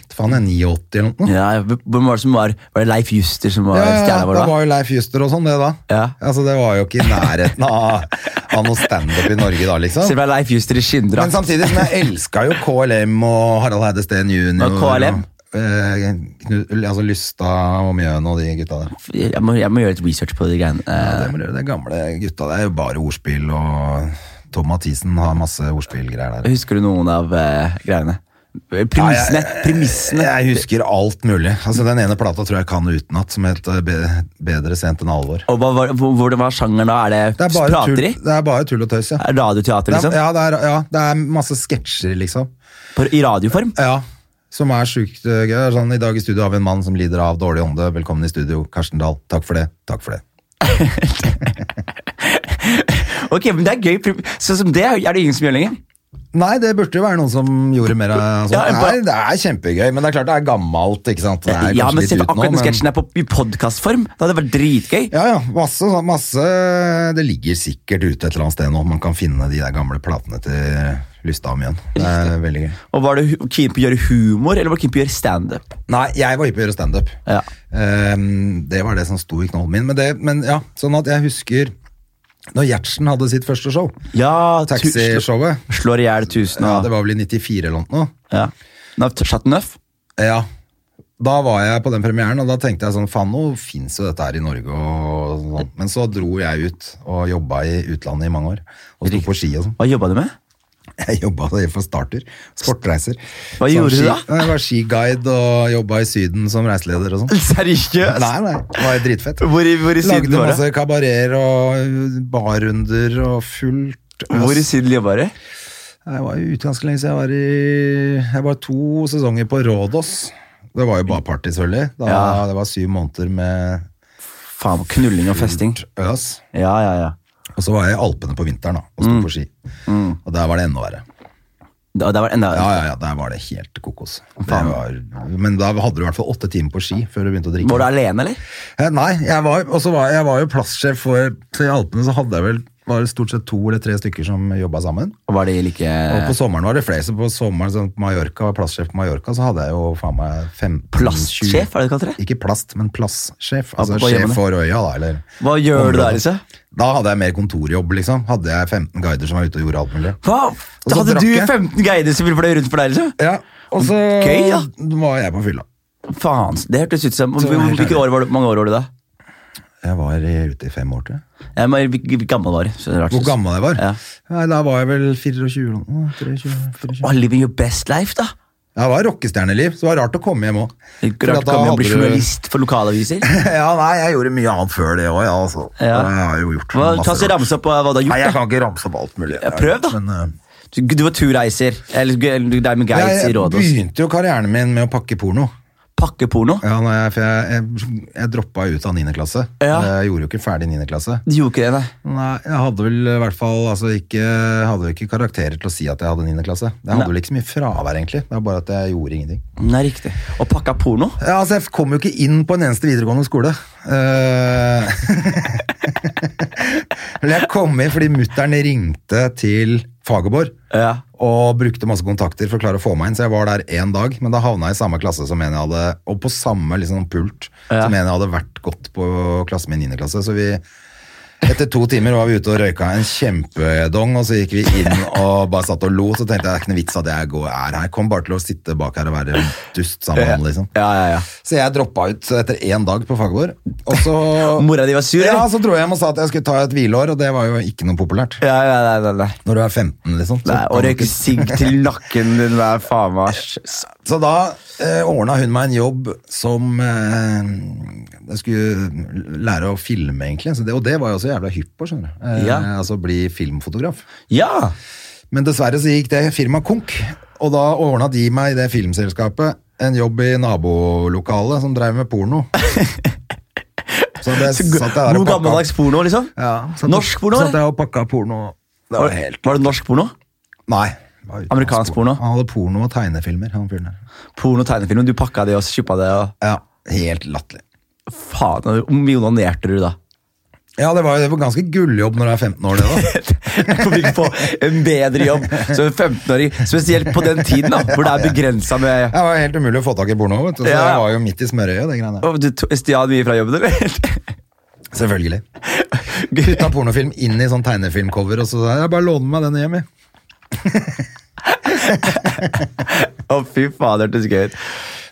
B: faen, jeg er 89 eller noe.
A: Ja, hvem var det som var Var det Leif Juster som var
B: Ja, ja, ja,
A: stjerna vår
B: det
A: da?
B: var jo Leif Juster og sånn, det da.
A: Ja.
B: Altså, det var jo ikke i nærheten av, av noe standup i Norge
A: Så
B: da,
A: det
B: liksom.
A: var Leif Juster i
B: Men
A: skinndrakt.
B: samtidig, men jeg elska jo KLM og Harald Heide Steen jr.
A: Og KLM?
B: eh, Knut, altså Lystad og Mjøen og de gutta der.
A: Jeg, må- jeg må gjøre litt research på de greiene. Eh,
B: Ja, det må du gjøre. De gamle gutta, det er jo bare ordspill, og Tom Mathisen har masse ordspillgreier der.
A: Husker du noen av eh, greiene? Eh, Premissene! Premissene!
B: Jeg husker alt mulig. Altså, den ene plata tror jeg kan utenat, som het eh, Be- Bedre sent enn alvor.
A: Og hva, hva, hvor- hvordan var sjangeren da? Er det,
B: Det er bare, tull,
A: prateri?
B: det er bare tull og tøys, ja.
A: Er det Radioteater, liksom?
B: Det er, ja, det er, ja, det er masse sketsjer, liksom.
A: På, I radioform?
B: Ja, som er sjukt øh, gøy. Det er Sånn, I dag i studio har vi en mann som lider av dårlig ånde. Velkommen i studio, Karsten Dahl. Takk for det. Takk for det.
A: Ok, men det er gøy. Pre- Sånn som det er det ingen som gjør lenger.
B: Nei, det burde jo være noen som gjorde mer av sånt.
A: Ja, jeg bare-
B: Nei, det er kjempegøy, men det er klart det er gammelt, ikke sant. Det er
A: ja,
B: kanskje
A: men
B: litt
A: sett
B: ut nå,
A: akkurat den
B: men-
A: sketsjen er på, i podkastform. Det hadde vært dritgøy.
B: Ja, ja. Masse, sånn- masse Det ligger sikkert ute et eller annet sted nå. Man kan finne de der gamle platene til Lystad om igjen. Det er veldig gøy.
A: Og Var du hu- keen på å gjøre humor, eller var du keen på å gjøre standup?
B: Nei, jeg var hypp på å gjøre standup.
A: Ja.
B: Ehm, det var det som sto i knollen min. Men, det, men ja, sånn at jeg husker når Gjertsen hadde sitt første show,
A: Ja, tu- slå-
B: taxishowet.
A: Slår i hjel tusen
B: Ja,
A: og
B: det var vel i 94 eller noe.
A: ja. Nå har vi Satt nøff?
B: Ja. Da var jeg på den premieren, og da tenkte jeg sånn Faen, nå fins jo dette her i Norge og sånn. Men så dro jeg ut og jobba i utlandet i mange år. Og sto på ski og sånn.
A: Hva jobba du med?
B: Jeg jobba for starter. Sportreiser.
A: Hva
B: Som
A: gjorde du
B: ski-
A: da?
B: Jeg var skiguide og jobba i Syden som reiseleder og sånn.
A: Seriøst?
B: Nei, nei, det var dritfett.
A: Hvor i, hvor i
B: Lagde
A: Syden var det?
B: masse kabareer og barrunder og fullt øs.
A: Hvor i Syden jobba du?
B: Jeg var jo ute ganske lenge, så jeg var i Jeg var to sesonger på Rådås. Det var jo bare party, selvfølgelig. Da,
A: Ja.
B: Det var syv måneder med
A: Faen, knulling og festing.
B: øs.
A: Ja, ja, ja.
B: Og så var jeg i Alpene på vinteren da,
A: Mm.
B: og sto på ski. Og der var det enda verre.
A: Da, det var enda
B: Ja, ja, ja, der var det helt kokos. Det var, men da hadde du i hvert fall åtte timer på ski før du begynte å drikke.
A: Var du alene, eller?
B: Eh, Nei, jeg var, og så var, jeg var jo plasssjef for så I Alpene så hadde jeg vel var det stort sett to eller tre stykker som jobba sammen.
A: Og var de like
B: Og på sommeren var det flere, så på sommeren så på Mallorca, var plasssjef på Mallorca, så hadde jeg jo faen meg 15
A: Plastsjef, er det det kaller det?
B: Ikke plast, men plasssjef. Altså
A: Ja, på hjemmene.
B: sjef for øya, da. Eller,
A: Hva gjør du liksom?
B: området.
A: da, Lise?
B: Da hadde jeg mer kontorjobb, liksom. Hadde jeg 15 guider som var ute og gjorde alt mulig.
A: Hva?
B: Og så
A: Hadde
B: drakk
A: du
B: jeg.
A: 15 guider som ville fløy rundt for deg, liksom?
B: Ja, og så
A: Gøy, ja.
B: var jeg på fylla.
A: Faen, det hørtes ut som
B: Så var jeg
A: Hvilke
B: ferdig.
A: år var du, mange år var du da?
B: Jeg var i- ute i fem år, tror jeg.
A: Jeg må- Hvor gammel var du? Så det er rart.
B: Hvor gammel jeg var?
A: Ja.
B: Nei, da var jeg vel 24 eller noe. 23, 24.
A: Å, living your best life, da!
B: Det var rockestjerneliv, så det var rart å komme hjem òg.
A: Ikke Rart å komme og bli journalist for lokalaviser.
B: Ja, nei, jeg gjorde mye annet før det òg, ja, altså.
A: Ja.
B: Jeg har jo gjort
A: Hva, ta
B: masse
A: så
B: rart.
A: ramse opp hva du har
B: Nei, jeg
A: gjort. da.
B: kan ikke ramse opp alt mulig.
A: Ja, prøv da.
B: Men, eh,
A: Du, du var turreiser. Eller gu- eller deg med guides i altså.
B: jeg
A: Rådås.
B: begynte jo karrieren min med å pakke porno.
A: Pakkeporno.
B: Ja, når jeg, for jeg, jeg, jeg droppa ut av 9. klasse.
A: Ja.
B: Jeg gjorde jo ikke ferdig 9. klasse.
A: Du gjorde ikke det, nei.
B: Nei, jeg hadde vel i hvert fall altså, ikke, hadde jo ikke karakterer til å si at jeg hadde 9. klasse. Jeg hadde vel ikke så mye fravær, egentlig. Det var bare at jeg gjorde ingenting.
A: Nei, riktig. Og pakka porno?
B: Ja, altså Jeg kom jo ikke inn på en eneste videregående skole. Eh, Eller jeg kom inn fordi mutter'n ringte til Fagerborg
A: Ja.
B: og brukte masse kontakter for å klare å få meg inn, så jeg var der én dag, men da havna jeg i samme klasse som en jeg hadde, og på samme liksom, pult
A: Ja.
B: som en jeg hadde vært godt på klassen min i 9. klasse. Så vi etter to timer var vi ute og røyka en kjempedong, og så gikk vi inn og bare satt og lo. Så tenkte jeg det er ikke noe vits at jeg går, er her, kom bare til å sitte bak her og være en dust sammen med han, liksom.
A: Ja, ja, ja.
B: Så jeg droppa ut etter én dag på Fagerborg. Og så
A: Mora di var sur,
B: Ja, altså.
A: eller?
B: så dro jeg hjem og sa at jeg skulle ta et hvileår, og det var jo ikke noe populært.
A: Ja, ja, nei, nei, nei.
B: Når du er 15, liksom. Så,
A: Nei,
B: kan
A: Å
B: du
A: røyke
B: ikke-
A: sigg til nakken din er faen meg s-
B: så da eh, ordna hun meg en jobb som eh, Jeg skulle lære å filme, egentlig. Så det, og det var jeg også jævla hypp på, skjønner du. Eh,
A: Ja.
B: Altså bli filmfotograf.
A: Ja!
B: Men dessverre så gikk det firmaet konk, og da ordna de meg i det filmselskapet en jobb i nabolokalet som drev med porno. Så ble jeg
A: Så go-
B: satt jeg der og
A: God
B: pakka-
A: gammeldags porno, liksom?
B: Ja, satt-
A: norsk porno?
B: Satt
A: eller?
B: jeg og pakka porno.
A: Var,
B: Det var helt
A: var det norsk porno?
B: Nei. det var utenlandsk
A: Amerikansk porno?
B: Han hadde porno og tegnefilmer, han fyren der.
A: Porno, tegnefilm, du pakka det og kjuppa det og
B: Ja, helt latterlig.
A: Faen, hvor mye onanerte du da?
B: Ja, det var, det var ganske gulljobb når du er 15 år, det da.
A: Jeg kom ikke på en bedre jobb som en 15-åring, spesielt på den tiden, da, hvor det er begrensa med
B: Det var helt umulig å få tak i porno, vet du. Så
A: Ja.
B: jeg var jo midt i smørøyet, det greiene der.
A: Å, Du to- stjal mye fra jobben, eller?
B: Selvfølgelig. Putta pornofilm inn i sånn tegnefilmcover, og så sa jeg bare låne meg den hjem, jeg.
A: Å, fy fader, det hørtes gøy ut.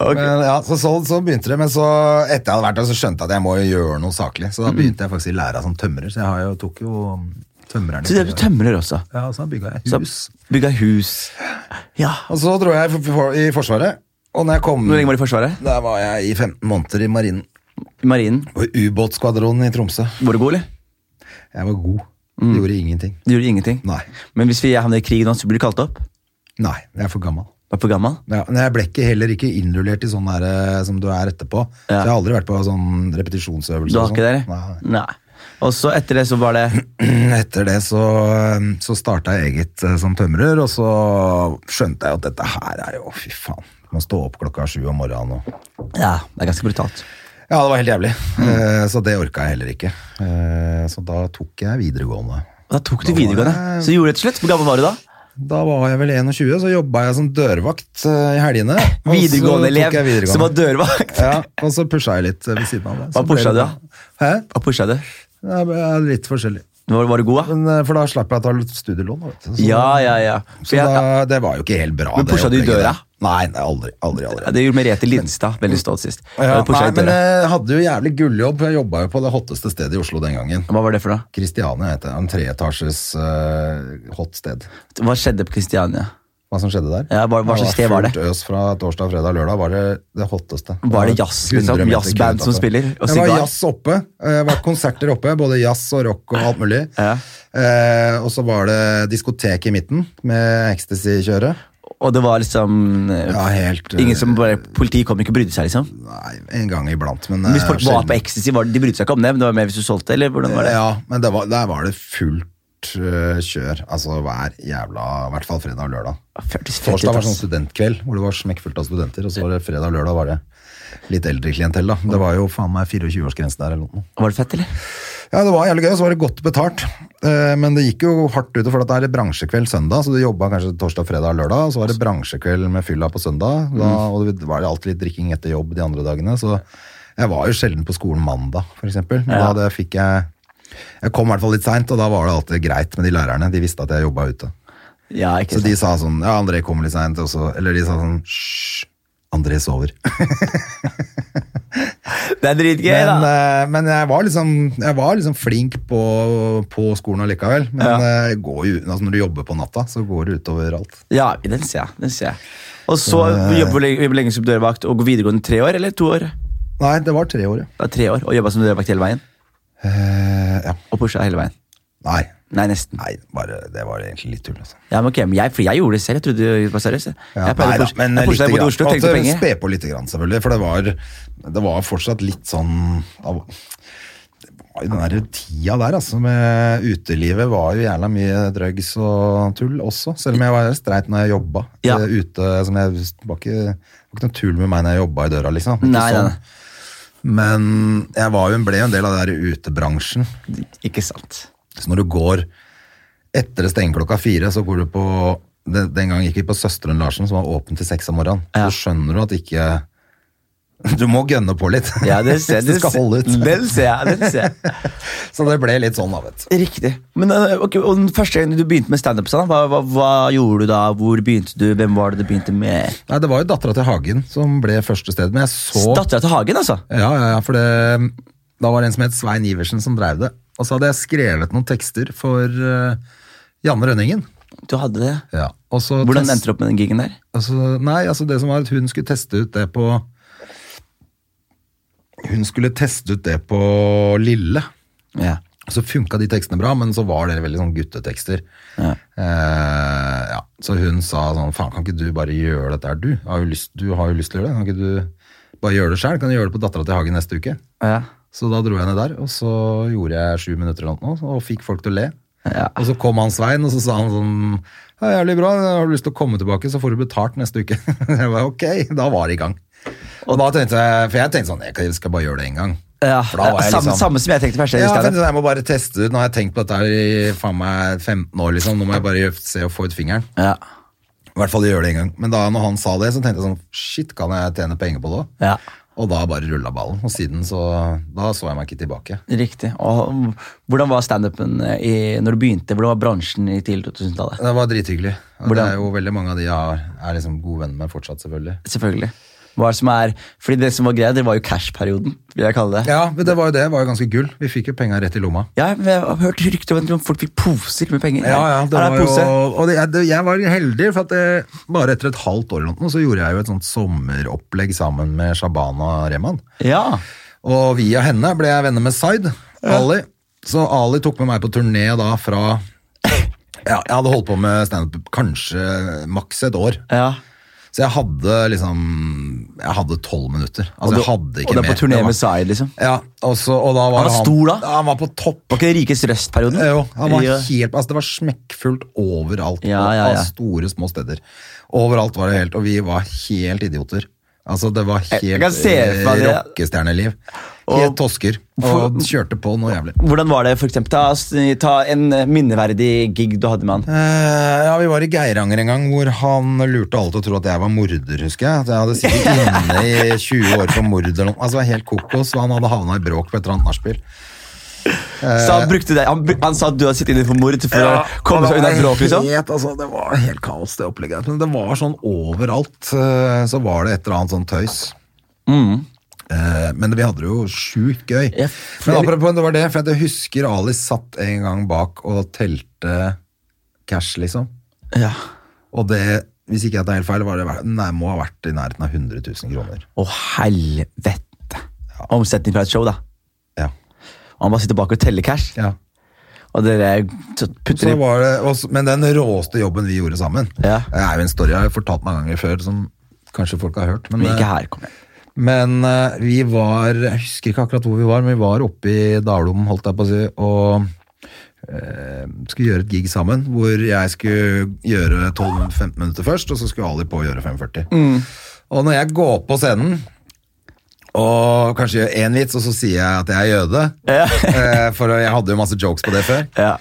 A: Ok.
B: Men, ja, så, så, så begynte det, men så etter jeg hadde vært der, så skjønte jeg at jeg må jo gjøre noe saklig. Så
A: Mm.
B: da begynte jeg faktisk i læra som tømrer, så jeg har jo, tok jo um, tømreren. i
A: Så det er du
B: tre år.
A: tømrer også.
B: Ja, så bygga jeg
A: Så
B: hus.
A: Bygga hus. Ja.
B: Og så dro jeg for, for, i Forsvaret, og når jeg kom
A: Hvor lenge var du i Forsvaret?
B: Der var jeg i 15 måneder i marinen.
A: I Marinen?
B: På ubåtskvadronen i Tromsø.
A: Var du god, eller?
B: Jeg var god.
A: Mm.
B: Gjorde ingenting.
A: Du gjorde ingenting?
B: Nei.
A: Men hvis vi havner i krig nå, så blir du kalt opp?
B: Nei, jeg er for gammel.
A: Du er for gammel?
B: Ja, men jeg ble ikke, heller ikke innrullert i sånn der eh, som du er etterpå. Så
A: Ja.
B: jeg har aldri vært på sånn repetisjonsøvelse.
A: Du har
B: og
A: ikke det?
B: sånn.
A: eller? Nei. Og så etter det så var det
B: Nei. Etter det så, eh, så starta jeg eget eh, som tømrer, og så skjønte jeg at dette her er jo Fy faen. Du må stå opp klokka sju om morgenen og
A: Ja, det er ganske brutalt.
B: Ja, det var helt jævlig.
A: Mm.
B: Eh, Så det orka jeg heller ikke. Eh, Så da tok jeg videregående.
A: Og da tok du
B: Da var
A: videregående.
B: jeg-
A: Så du gjorde det til slutt. Hvor gammel var du da?
B: Da var jeg vel 21, så jobba jeg som dørvakt eh, i helgene. og så
A: Videregående
B: tok jeg
A: elev
B: videregående.
A: som var dørvakt.
B: Ja, og så pusha jeg litt eh, ved siden av det.
A: Hva
B: Så ble
A: pusha
B: det-
A: du, da?
B: Hæ?
A: Hva pusha du?
B: Det er litt forskjellig.
A: Var, var du god, da?
B: Men, eh, for da slapp jeg å ta litt studielån. da, Vet du. Så,
A: Ja, ja, ja.
B: så
A: For jeg,
B: da, det var jo ikke helt bra.
A: Men
B: det
A: pusha du i
B: opplegget
A: døra?
B: der. Nei, nei, aldri. aldri, aldri.
A: det gjorde Merete Lindstad veldig stolt sist.
B: Ja,
A: Da pusha
B: nei,
A: jeg i
B: men
A: døra.
B: jeg hadde jo jævlig gulljobb. for Jeg jobba jo på det hotteste stedet i Oslo den gangen.
A: Hva var det for noe?
B: Kristiania het det. En treetasjes eh, hot sted.
A: Hva skjedde på Kristiania?
B: Hva som skjedde der?
A: Ja, hva- hva
B: Det
A: slags sted var det?
B: Fullt øs fra torsdag, fredag, lørdag var det det hotteste.
A: Var det jazz, liksom?
B: 100 meter
A: Jazzband
B: kø
A: som
B: utenfor.
A: spiller, og
B: Det var
A: sigar?
B: jazz oppe. eh, Det var konserter oppe, både jazz og rock og alt mulig.
A: Ja.
B: Eh, og så var det diskotek i midten med ecstasy-kjøret.
A: Og det var liksom eh,
B: Ja, helt, eh,
A: Ingen som bare, Politiet kom ikke og brydde seg, liksom?
B: Nei, en gang iblant, men
A: Men hvis
B: eh,
A: folk var
B: sjelden.
A: på ecstasy, var det, de brydde seg ikke om det? Men det var mer hvis du solgte, eller hvordan var det?
B: Ja, men det var, der var det fullt eh, kjør. Altså hver jævla I hvert fall fredag og lørdag.
A: Føltes fett ut,
B: Torsdag var sånn
A: ass.
B: studentkveld hvor det var smekkfullt av studenter, og så var det fredag og lørdag var det litt eldre klientell, da. Det var jo faen meg 24-årsgrense der eller noe.
A: Var det fett, eller?
B: Ja, det var jævlig gøy, og så var det godt betalt. Eh, Men det gikk jo hardt ut, for det er bransjekveld søndag, så du jobba kanskje torsdag, fredag og lørdag, og så var det bransjekveld med fylla på søndag, da, og det var alltid litt drikking etter jobb de andre dagene, så jeg var jo sjelden på skolen mandag, for eksempel. Men
A: Ja.
B: Da det fikk jeg Jeg kom i hvert fall litt seint, og da var det alltid greit med de lærerne, de visste at jeg jobba ute.
A: Ja, ikke
B: Så
A: sant.
B: de sa sånn Ja, André kommer litt seint også. Eller de sa sånn Hysj, André sover.
A: Det er dritgøy,
B: Men,
A: da.
B: eh, men jeg, var liksom, jeg var liksom flink på, på skolen allikevel. Men
A: Ja.
B: eh, går jo, altså når du jobber på natta, så går det utover alt.
A: Ja, den ser jeg. den ser jeg. Og så
B: eh,
A: jobber du lenge- lenge som dørvakt og går videregående tre år, eller to år?
B: Nei, det var tre år, ja.
A: Det er tre år, Og jobba som dørvakt hele veien?
B: Eh, ja.
A: Og pusha hele veien?
B: Nei.
A: Nei, nesten.
B: Nei, bare, det var egentlig litt tull, altså.
A: Ja, men ok, men jeg, for jeg gjorde det selv. Jeg trodde du var seriøs. jeg.
B: Ja,
A: Jeg pleide
B: nei
A: å
B: da,
A: pushe-
B: men
A: jeg pusha deg
B: lite
A: både i
B: grann.
A: Oslo og tenkte
B: Måtte
A: penger.
B: Spe på litt, grann, selvfølgelig, for det var, det var fortsatt litt sånn av- Det var jo den der tida der, altså. Med utelivet var jo jævla mye drugs og tull også. Selv om jeg var streit når jeg jobba
A: Ja.
B: eh, ute. Som jeg, det, var ikke, det var ikke noe tull med meg når jeg jobba i døra, liksom. Ikke
A: Nei, nei,
B: sånn. Men jeg var jo, ble jo en del av den der utebransjen.
A: nei. Ikke sant.
B: Så når du går etter det stenger klokka fire, så går du på Den, den gang gikk vi på Søsteren Larsen, som var åpen til seks om morgenen.
A: Ja.
B: Så skjønner du at ikke Du må gønne på litt
A: Ja, det ser,
B: hvis du skal holde ut.
A: Den ser jeg. den ser jeg.
B: Så det ble litt sånn, da, vet du.
A: Riktig. Men eh, ok, og den første gangen du begynte med standup, sånn, hva, hva, hva gjorde du da? Hvor begynte du? Hvem var det du begynte med?
B: Nei, det var jo dattera til Hagen som ble første sted, men jeg så
A: Dattera til Hagen, altså?
B: Ja, ja, ja, for det, da var det en som het Svein Iversen som drev det. Og så hadde jeg skrevet noen tekster for eh, Janne Rønningen.
A: Du hadde det.
B: Ja. Og så
A: Hvordan
B: test-
A: endte du opp med den gigen der?
B: Altså, nei, altså det som var at hun skulle teste ut det på Hun skulle teste ut det på Lille.
A: Ja.
B: Så funka de tekstene bra, men så var det veldig sånn guttetekster.
A: Ja.
B: Eh, ja. Så hun sa sånn Faen, kan ikke du bare gjøre dette her, du? Har jo lyst, du har jo lyst til å gjøre det. Kan ikke du bare gjøre det sjøl? Kan du gjøre det på Dattera til Hagen neste uke?
A: ja.
B: Så da dro jeg ned der, og så gjorde jeg sju minutter eller noe, sånt, og fikk folk til å le.
A: Ja.
B: Og så kom han Svein, og så sa han sånn ja, Jævlig bra, har du lyst til å komme tilbake, så får du betalt neste uke. jeg var ok, da var det i gang. Og da tenkte jeg, For jeg tenkte sånn Jeg skal bare gjøre det én gang.
A: Ja,
B: For da var jeg
A: samme,
B: liksom-
A: samme som jeg tenkte først. jeg
B: Ja, jeg,
A: visste det.
B: tenkte, sånn, jeg må bare teste det ut. Nå har jeg tenkt på dette her i faen meg 15 år, liksom. Nå må jeg bare gjøre- se og få ut fingeren.
A: Ja.
B: I hvert fall gjøre det en gang. Men da når han sa det, så tenkte jeg sånn Shit, kan jeg tjene penger på det òg?
A: Ja.
B: Og da bare rulla ballen. Og siden så Da så jeg meg ikke tilbake.
A: Riktig. Og hvordan var standupen eh, i- når du begynte? Hvordan var bransjen i tidlig 2000-tallet?
B: Det var drithyggelig. Og Det
A: Hvordan?
B: er jo veldig mange av de jeg har- er liksom gode venner med fortsatt, selvfølgelig.
A: Selvfølgelig. Hva er det som er, fordi det som var greia, det var jo cash-perioden, vil jeg kalle det.
B: Ja, men det var jo det. Det var jo ganske gull. Vi fikk jo penga rett i lomma.
A: Ja, men jeg har hørt rykter om at folk fikk poser med penger.
B: det
A: Her er
B: var
A: en pose.
B: jo, og det, det, jeg var heldig, for at det, bare etter et halvt år eller noe, så gjorde jeg jo et sånt sommeropplegg sammen med Shabana Rehman.
A: Ja.
B: Og via henne ble jeg venner med Zaid, Ali. Så Ali tok med meg på turné da fra ja, Jeg hadde holdt på med standup kanskje maks et år.
A: ja.
B: Så jeg hadde liksom Jeg hadde tolv minutter.
A: Og
B: Altså,
A: du-
B: jeg hadde ikke
A: og du er på
B: mer.
A: turné
B: Det var-
A: med Zaid, liksom?
B: Ja, og, så, og da var
A: Han var stor da?
B: Ja, han var på topp.
A: Var ikke det rikes røst-perioden?
B: Eh, Jo, han var
A: Ja.
B: helt, altså det var smekkfullt overalt.
A: Ja,
B: og-
A: ja, ja.
B: Av store, små steder. Overalt var det helt, og vi var helt idioter. Altså, det var
A: Jeg-
B: helt
A: jeg kan se
B: eh,
A: for meg det.
B: rockestjerneliv.
A: Og-
B: Helt tosker.
A: For-
B: Og kjørte på noe jævlig.
A: Hvordan var det, for eksempel? Ta, ta en minneverdig gig du hadde med han.
B: Eh, ja, Vi var i Geiranger en gang hvor han lurte alle til å tro at jeg var morder, husker jeg. At jeg hadde sittet inne i 20 år for mord eller noe. Altså, det var helt kokos, og han hadde havna i bråk på et eller annet nachspiel. Eh.
A: Så han, brukte det. Han, br- han sa at du hadde sittet inne for mord for å komme
B: og
A: seg
B: det
A: unna
B: var
A: bråk, liksom?
B: Helt, altså, det var helt kaos, det opplegget. Men det var sånn overalt eh, så var det et eller annet sånn tøys. Eh, Men vi hadde det jo sjukt gøy.
A: Mm. Ja,
B: Men
A: for-
B: apropos det var det, for jeg husker Ali satt en gang bak og telte cash, liksom.
A: Ja.
B: Og det, hvis ikke jeg tar helt feil, var det, ver- nei, må ha vært i nærheten av 100 000 kroner.
A: Å, helvete. Omsetning fra et show, da.
B: Ja.
A: Og han bare sitter bak og teller cash.
B: ja.
A: Og dere så
B: Så
A: putter i
B: var det, og s- men den råeste jobben vi gjorde sammen,
A: Ja.
B: det er jo en story jeg har fortalt mange ganger før, som kanskje folk har hørt. Men, eh,
A: Men ikke her, kom igjen.
B: Men eh, vi var Jeg husker ikke akkurat hvor vi var, men vi var oppe i Dalom, holdt jeg på å si, og eh, skulle gjøre et gig sammen. Hvor jeg skulle gjøre 12-15 minutter først, og så skulle Ali på å gjøre 45. Og når jeg går på scenen og kanskje gjør én vits, og så sier jeg at jeg er jøde,
A: Ja.
B: eh, for jeg hadde jo masse jokes på det før.
A: Ja.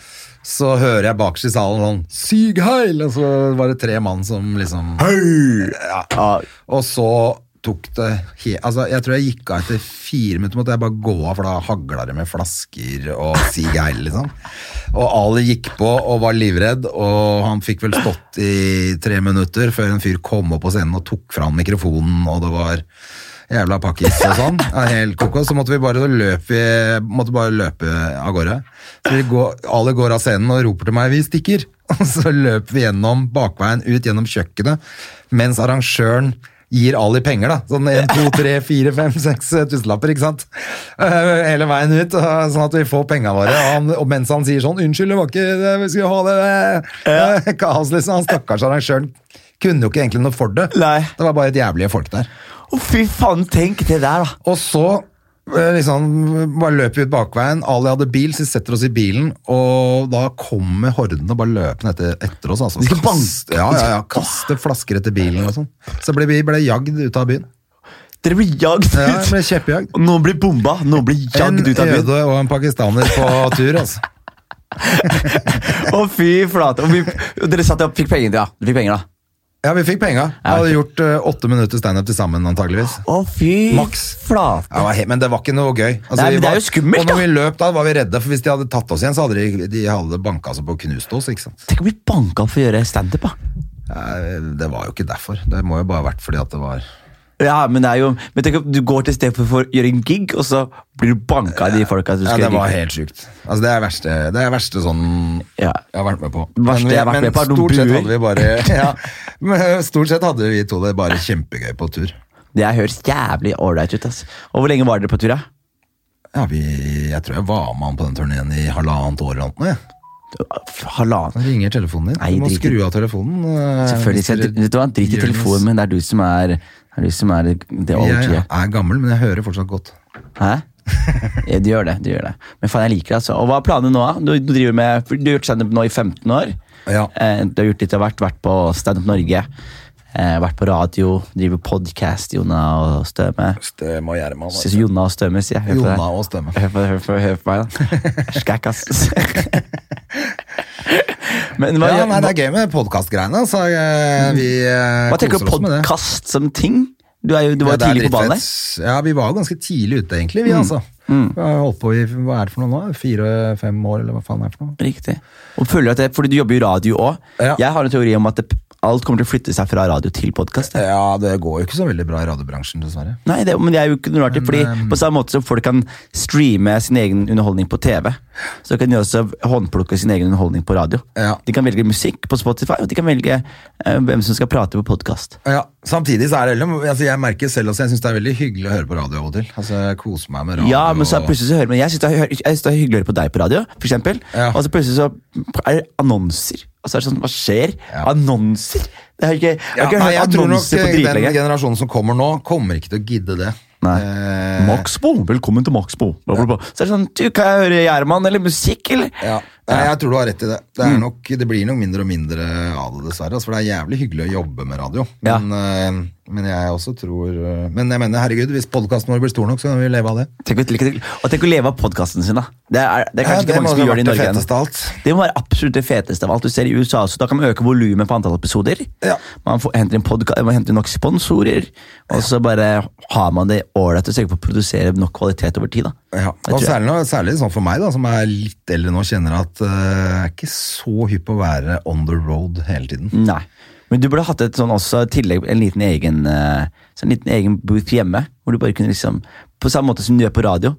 B: Så hører jeg bakerst i salen sånn 'Sig heil!' Og så var det tre mann som liksom Ja.
A: Ja.
B: Og så tok det he altså, Jeg tror jeg gikk av etter fire minutter, måtte jeg bare gå av, for da hagla det med flasker og sig heil, liksom. Og Ali gikk på og var livredd, og han fikk vel stått i tre minutter før en fyr kom opp på scenen og tok fra han mikrofonen, og det var jævla pakkis og sånn. Ja, Helt kokos. Så måtte vi bare, så løp vi, måtte bare løpe av gårde. Så vi går, Ali går av scenen og roper til meg 'vi stikker'. Og så løper vi gjennom bakveien ut gjennom kjøkkenet mens arrangøren gir Ali penger, da. Sånn 1, 2, 3, 4, 5, 6 tusenlapper, ikke sant. Eh, Hele veien ut, eh, sånn at vi får penga våre. Og, han, og mens han sier sånn 'unnskyld, det var ikke det, vi skulle ha det', det er kaos, liksom. Han stakkars arrangøren kunne jo ikke egentlig noe for det.
A: Nei.
B: Det var bare et jævlige folk der.
A: Å, fy faen, tenk det der, da.
B: Og så eh, liksom, bare løper vi ut bakveien. Ali hadde bil, så vi setter oss i bilen, og da kommer hordene bare løpende etter, etter oss. Altså.
A: De skal
B: Kast-
A: banke-
B: Ja, ja, ja, kaste flasker etter bilen og sånn. Så ble vi ble jagd ut av byen.
A: Dere blir jagd
B: Ja, jeg
A: ut.
B: ble kjeppejagd.
A: Og Noen blir bomba, noen blir
B: En
A: jagd ut av byen.
B: jøde og en pakistaner på tur, altså.
A: Å, fy flate. Og, vi, og dere satt og fikk penger, ja. Dere fikk penger, da.
B: Ja, vi fikk penga. Jeg hadde gjort eh, åtte minutter standup til sammen, antageligvis.
A: Å, fy
B: Maks.
A: flate.
B: Ja, det var he- men det var ikke noe gøy. Altså,
A: Nei, men
B: vi
A: det er jo skummelt,
B: Og når
A: da.
B: vi løp, da var vi redde, for hvis de hadde tatt oss igjen, så hadde de, de hadde banka oss opp og knust oss. ikke sant?
A: Tenk å bli banka opp for å gjøre standup, da.
B: Nei, Det var jo ikke derfor. Det må jo bare ha vært fordi at det var
A: Ja, men det er jo Men tenk om du går til stedet for, for å gjøre en gig, og så blir du banka av de folka du
B: Ja,
A: skal
B: det var
A: gjøre gig.
B: helt sjukt. Altså, det er verste, det er verste sånn
A: Ja.
B: jeg har vært med på.
A: Verste jeg har vært med på er noen
B: stort sett
A: buer.
B: hadde vi bare ja, men Stort sett hadde vi to det bare kjempegøy på tur.
A: Det her høres jævlig ålreit ut. ass Og Hvor lenge var dere på tur? da?
B: Ja, vi, Jeg tror jeg var med han på den turneen i halvannet år eller noe. jeg.
A: Halvannen
B: Da ringer telefonen din.
A: Nei,
B: du må
A: drit i-
B: skru av telefonen. eh,
A: Selvfølgelig.
B: hvis
A: Så,
B: dere
A: vet du hva, Drit i
B: gjør noe
A: telefonen min. Det er du som er, det er, du som er det
B: s-
A: OG.
B: Jeg er gammel, men jeg hører fortsatt godt.
A: Hæ? Ja, Du gjør det. du gjør det. Men faen, jeg liker det. altså. Og Hva er planene nå? da? Du, du, driver med, for du har gjort standup nå i 15 år.
B: Ja.
A: Eh, Du har gjort litt av hvert. Vært på Standup Norge. Eh, vært på radio. Driver podkast, Jonna og Støme.
B: Støme og Gjerman. altså.
A: Syns Jonna og Støme, sier jeg. Hør på det.
B: Jonna og Støme.
A: Hør på, hør på, hør på meg, da. Skækk, ass. Men hva, Mm.
B: Ja, nei, det er gøy med podkastgreiene. Så eh, vi eh,
A: hva tenker
B: koser
A: du
B: oss med det.
A: podkast som ting? Du, er jo, du var jo
B: Ja, det er
A: tidlig på banen der. Mm.
B: drittfett. Ja, vi var jo ganske tidlig ute, egentlig, vi, altså. Vi har holdt på i hva er det for noe nå? Fire-fem år, eller hva faen er det for noe?
A: Riktig. Og føler du at det, fordi du jobber jo i radio òg.
B: Ja.
A: Jeg har en teori om at det, alt kommer til å flytte seg fra radio til podkast.
B: Ja, det går jo ikke så veldig bra i radiobransjen, dessverre.
A: Nei, det, men det er jo ikke noe rart, fordi på samme måte som folk kan streame sin egen underholdning på TV, så kan de også håndplukke sin egen underholdning på radio.
B: Ja.
A: De kan velge musikk på Spotify, og de kan velge eh, hvem som skal prate på podkast.
B: Ja, Samtidig så er det heller- altså Jeg merker selv også, jeg syns det er veldig hyggelig å høre på radio av og til. Altså, Jeg koser meg med radio.
A: Ja, men så er
B: og-
A: plutselig så hører man Jeg syns det, er hø- jeg synes det er hyggelig å høre på deg på radio, for eksempel.
B: Ja.
A: Og så plutselig så er det annonser. Og så er det sånn, Hva skjer?
B: Ja.
A: Annonser? Det har ikke, jeg
B: ja,
A: har ikke
B: nei, jeg
A: hørt
B: tror nok
A: annonser på
B: eh, den
A: dritlenge.
B: generasjonen som kommer nå, kommer ikke til å gidde det.
A: Nei.
B: Eh,
A: Maxbo, velkommen til Maxbo. Bla, bla, bla. Så er det sånn, du, kan jeg høre Gjerman eller musikk, eller?
B: Ja, Nei, jeg tror du har rett i det. Det,
A: Mm.
B: er nok, det blir nok mindre og mindre av det, dessverre. Altså, for det er jævlig hyggelig å jobbe med radio.
A: Ja.
B: Men, eh, men jeg også tror eh, Men jeg mener, herregud, hvis podkasten vår blir stor nok, så kan vi leve av det.
A: Tenk, å- tenk, å- og tenk å leve av podkasten sin, da. Det er, det er kanskje
B: Ja,
A: ikke mange
B: må
A: som
B: ha
A: gjør det i
B: vært
A: Norge ennå.
B: feteste av alt.
A: Det må være absolutt det feteste av alt. Du ser i USA også, Da kan man øke volumet på antall episoder.
B: Ja.
A: Man, får, henter inn podka, man henter inn nok sponsorer, og så bare har man det ålreit og sørger for å produsere nok kvalitet over tid. da.
B: Ja,
A: Det tror
B: og
A: jeg.
B: særlig, nå- særlig sånn for meg, da, som er litt eldre nå, kjenner at eh, jeg er ikke så hypp på å være on the road hele tiden.
A: Nei. Men du burde hatt et sånn også tillegg, en liten egen eh, sånn en liten egen booth hjemme. Hvor du bare kunne liksom, På samme måte som du gjør på radio.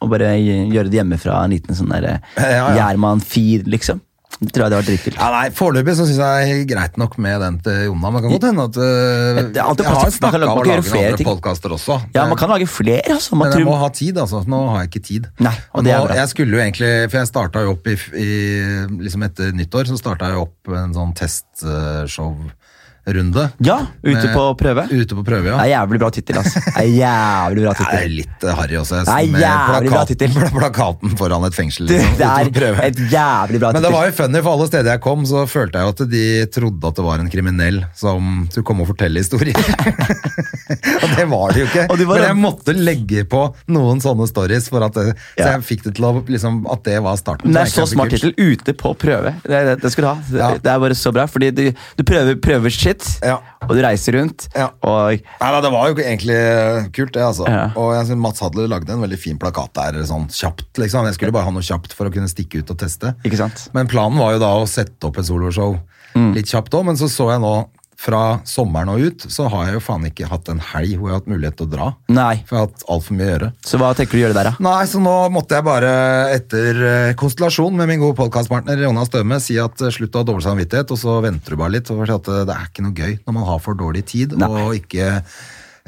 A: Og bare gjøre det hjemmefra. En liten sånn der,
B: Ja, ja.
A: Gjerman-feed, liksom. Det tror jeg det var dritkult.
B: Ja, nei, Foreløpig så syns jeg det er greit nok med den til Jonna. Men det kan godt hende at eh,
A: Det er alltid plass til-
B: Jeg har
A: man kan
B: snakka
A: lage- man
B: om å
A: kan gjøre
B: lage noen
A: flere
B: andre
A: ting.
B: podkaster også.
A: Ja,
B: Det-
A: man kan lage flere, altså. Man
B: Men jeg
A: tror,
B: må ha tid, altså. Nå har jeg ikke tid.
A: Nei, og
B: og
A: det
B: nå,
A: er bra.
B: jeg skulle jo egentlig, for jeg starta jo opp i, i liksom etter nyttår, så starta jeg jo opp en sånn testshow-runde.
A: ja, ute
B: Med-
A: på prøve.
B: Ute på prøve, ja.
A: Det er jævlig bra tittel, altså. Det er jævlig bra
B: Ja, det er
A: tittel.
B: litt eh, harry også, jeg,
A: Nei,
B: med
A: jævlig bra tittel.
B: plakaten, plakaten foran et fengsel.
A: Det
B: Liksom, ute
A: det
B: på
A: er
B: prøve.
A: et jævlig bra
B: Men det
A: tittel.
B: var jo funny, for alle steder jeg kom, så følte jeg jo at de trodde at det var en kriminell som skulle komme og fortelle historier. og det var det jo ikke.
A: Og de var-
B: Men jeg måtte legge på noen sånne stories, for at det, så
A: Ja.
B: jeg fikk det til å liksom, At det var starten.
A: Det er
B: Så jeg
A: så
B: kan
A: smart
B: sikkert-
A: tittel. Ute på prøve. Det, det, det skal du ha. Det,
B: Ja.
A: det er bare så bra, fordi du, du prøver, prøver shit,
B: Ja.
A: og du reiser rundt,
B: Ja.
A: og
B: Nei, da, det var jo egentlig kult, det, altså.
A: Ja.
B: Og jeg synes Mats Hadler lagde en veldig fin plakat der, sånn kjapt, liksom. Jeg skulle bare ha noe kjapt for å kunne stikke ut og teste.
A: Ikke sant? Mm.
B: Men planen var jo da å sette opp et soloshow litt kjapt òg, men så så jeg nå fra sommeren og ut, så har jeg jo faen ikke hatt en helg hvor jeg har hatt mulighet til å dra.
A: Nei.
B: For jeg har hatt altfor mye å gjøre.
A: Så hva tenker du å gjøre der, da?
B: Nei, så nå måtte jeg bare etter eh, konstellasjon med min gode podkastpartner Jonas Døme si at eh, slutt å ha dårlig samvittighet, og så venter du bare litt. Og forstå at eh, det er ikke noe gøy når man har for dårlig tid,
A: Nei.
B: og ikke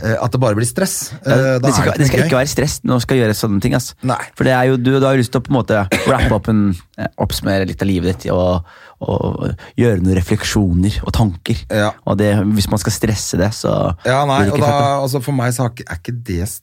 B: eh, At det bare blir stress. Eh, Da
A: det skal,
B: er
A: det
B: det
A: skal
B: ikke
A: ikke
B: noe gøy.
A: være stress når man skal gjøre sånne ting. ass.
B: Nei.
A: For det er jo, du, du har jo lyst til å på en måte wrappe opp en, eh, oppsummere litt av livet ditt og, og gjøre noen refleksjoner og tanker.
B: Ja.
A: Og det, hvis man skal stresse det, så
B: Ja, nei,
A: blir det
B: og
A: ikke
B: da,
A: fett,
B: altså For meg så har ikke- er ikke det s-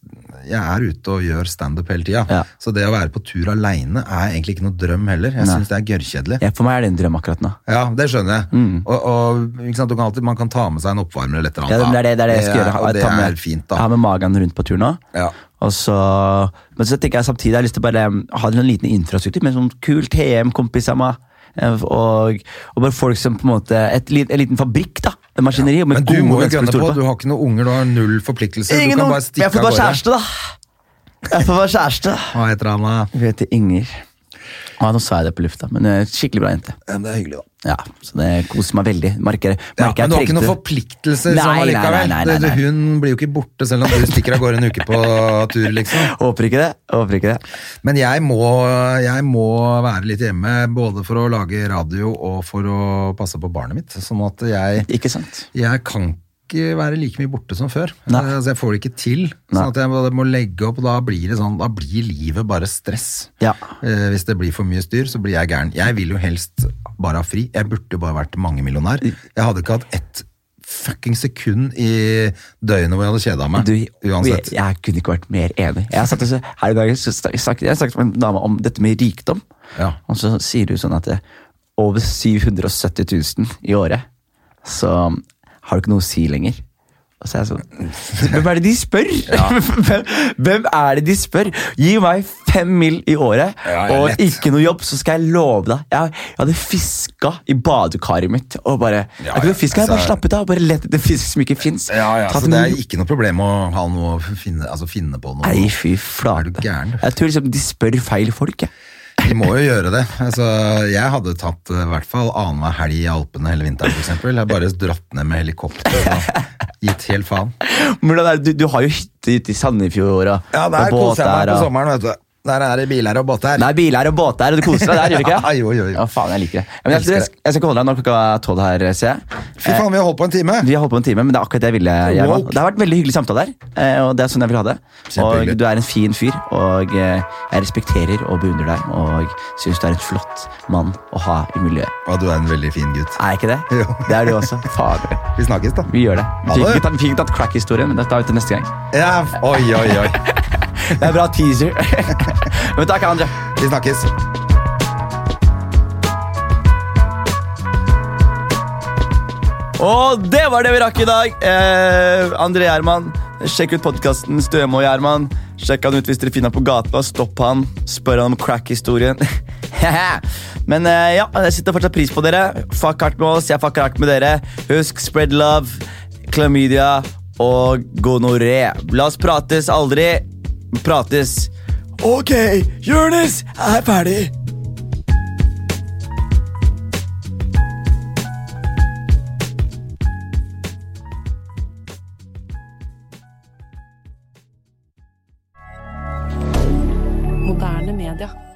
B: Jeg er ute og gjør standup hele tida.
A: Ja.
B: Så det å være på tur aleine er egentlig ikke noe drøm heller. Jeg
A: Nei.
B: syns det er gørrkjedelig.
A: da. Ja, for meg er det en drøm akkurat nå.
B: Ja, det skjønner jeg. Og, og ikke sant, du kan alltid, Man kan ta med seg en oppvarmer eller et eller
A: Ja,
B: annet.
A: det, er det, det er det jeg skal
B: er-
A: gjøre.
B: Og det
A: Ta med-
B: er fint, da.
A: Jeg har med magen rundt på tur nå.
B: Ja.
A: Og så, men så tenker jeg samtidig jeg har lyst til å bare um, ha en liten infrastruktur med sånn kul TM, kompiser med, eh, og, og bare folk som på en måte et, li- en liten fabrikk, da. En maskineri. Med
B: Men du
A: gode
B: må jo
A: mennesker å
B: gønne
A: stole
B: på. Du har ikke noen unger, du har null forpliktelser.
A: Ingen
B: du kan
A: noen-
B: bare stikke
A: Jeg får bare kjæreste, da. Jeg får bare kjæreste.
B: Hva heter han, da?
A: Hun heter Inger. Ja, nå sa jeg det på lufta, men eh, skikkelig bra jente.
B: Ja, det er hyggelig, da.
A: Ja, Så det koser meg veldig. Merker, merker
B: Ja,
A: jeg
B: men du har ikke
A: trengte
B: noen
A: det.
B: forpliktelser
A: Nei,
B: sånn
A: nei,
B: allikevel.
A: nei, nei, nei,
B: Det- Hun blir jo ikke borte selv om du stikker av gårde en uke på tur, liksom.
A: Håper ikke det. Håper ikke det.
B: Men jeg må, jeg må være litt hjemme, både for å lage radio og for å passe på barnet mitt. Sånn at jeg,
A: Ikke sant?
B: jeg kan ikke være like mye borte som før.
A: Nei.
B: Eh, Altså, jeg får det ikke til.
A: Nei.
B: Sånn at jeg må- må legge opp, og da blir, det sånn, da blir livet bare stress.
A: Ja.
B: Eh, hvis det blir for mye styr, så blir jeg gæren. Jeg vil jo helst bare ha fri. Jeg burde jo bare vært mangemillionær. Jeg hadde ikke hatt ett fucking sekund i døgnet hvor jeg hadde kjeda meg.
A: Du, jeg,
B: uansett.
A: jeg kunne ikke vært mer enig. Jeg satt også, her i dag så snak- snakket jeg snakket med en dame om dette med rikdom.
B: Ja.
A: Og så sier du sånn at det, over 770 000 i året, så har du ikke noe å si lenger. Og så er jeg sånn Hvem er det de spør?! Hvem, hvem er det de spør? Gi meg fem mil i året
B: Ja, ja,
A: og
B: lett.
A: ikke noe jobb, så skal jeg love deg. Jeg, jeg hadde fiska i badekaret mitt og bare
B: Ja,
A: Jeg kunne
B: ja,
A: fiska, jeg bare
B: altså-
A: slappet av. Bare lett etter fisk som ikke fins.
B: Ja, ja, så det er ikke noe problem å ha noe å finne, altså finne på noe.
A: Nei, fy
B: Er
A: flate.
B: du gæren?
A: Jeg tror liksom de spør feil folk. Jeg.
B: Vi må jo gjøre det. Altså, jeg hadde tatt eh, i hvert fall annenhver helg i Alpene hele vinteren, f.eks. Jeg har bare dratt ned med helikopter og gitt helt faen.
A: Men det er, du, du har jo hytte ute i Sandefjord og,
B: Ja,
A: og
B: der koser jeg meg
A: og-
B: på sommeren, vet du. Der er det biler og båter.
A: Det er biler og båter, og du koser deg der, gjør du ikke?
B: Ja, jo, jo, jo.
A: Ja, faen, jeg liker det. Ja, Men jeg,
B: Elsker
A: jeg, jeg skal ikke holde deg nå klokka tolv her, eh, ser jeg.
B: Fy faen, vi har holdt på en time!
A: Vi har holdt på en time, men det er akkurat det jeg ville. Gjerman.
B: Woke.
A: Det har vært veldig hyggelig samtale der, eh, og det er sånn jeg vil ha det. Og
B: Kjempehyggelig.
A: du er en fin fyr, og eh, jeg respekterer og beundrer deg, og syns du er en flott mann å ha i miljøet.
B: Ja, du er en veldig fin gutt.
A: Er jeg ikke det?
B: Jo.
A: Det er du også. Fader.
B: Vi snakkes, da.
A: Vi gjør det. Vi
B: Ha
A: fikk
B: det.
A: ikke tatt- vi fikk ikke tatt crack-historien, men det tar vi til neste gang.
B: Ja, oi, oi, oi.
A: Det er bra teaser. men takk, Andre.
B: Vi snakkes.
A: Og det var det vi rakk i dag. Eh, André Gjerman, sjekk ut podkasten Støme og Gjerman. Sjekk han ut hvis dere finner han på gata. Stopp han. Spør han om crack-historien. Men eh, ja, jeg setter fortsatt pris på dere. Fuck hardt med oss, jeg fucker hardt med dere. Husk spread love, klamydia og gonoré. La oss prates aldri. Prates. Ok, Jonis er ferdig.
C: Moderne media.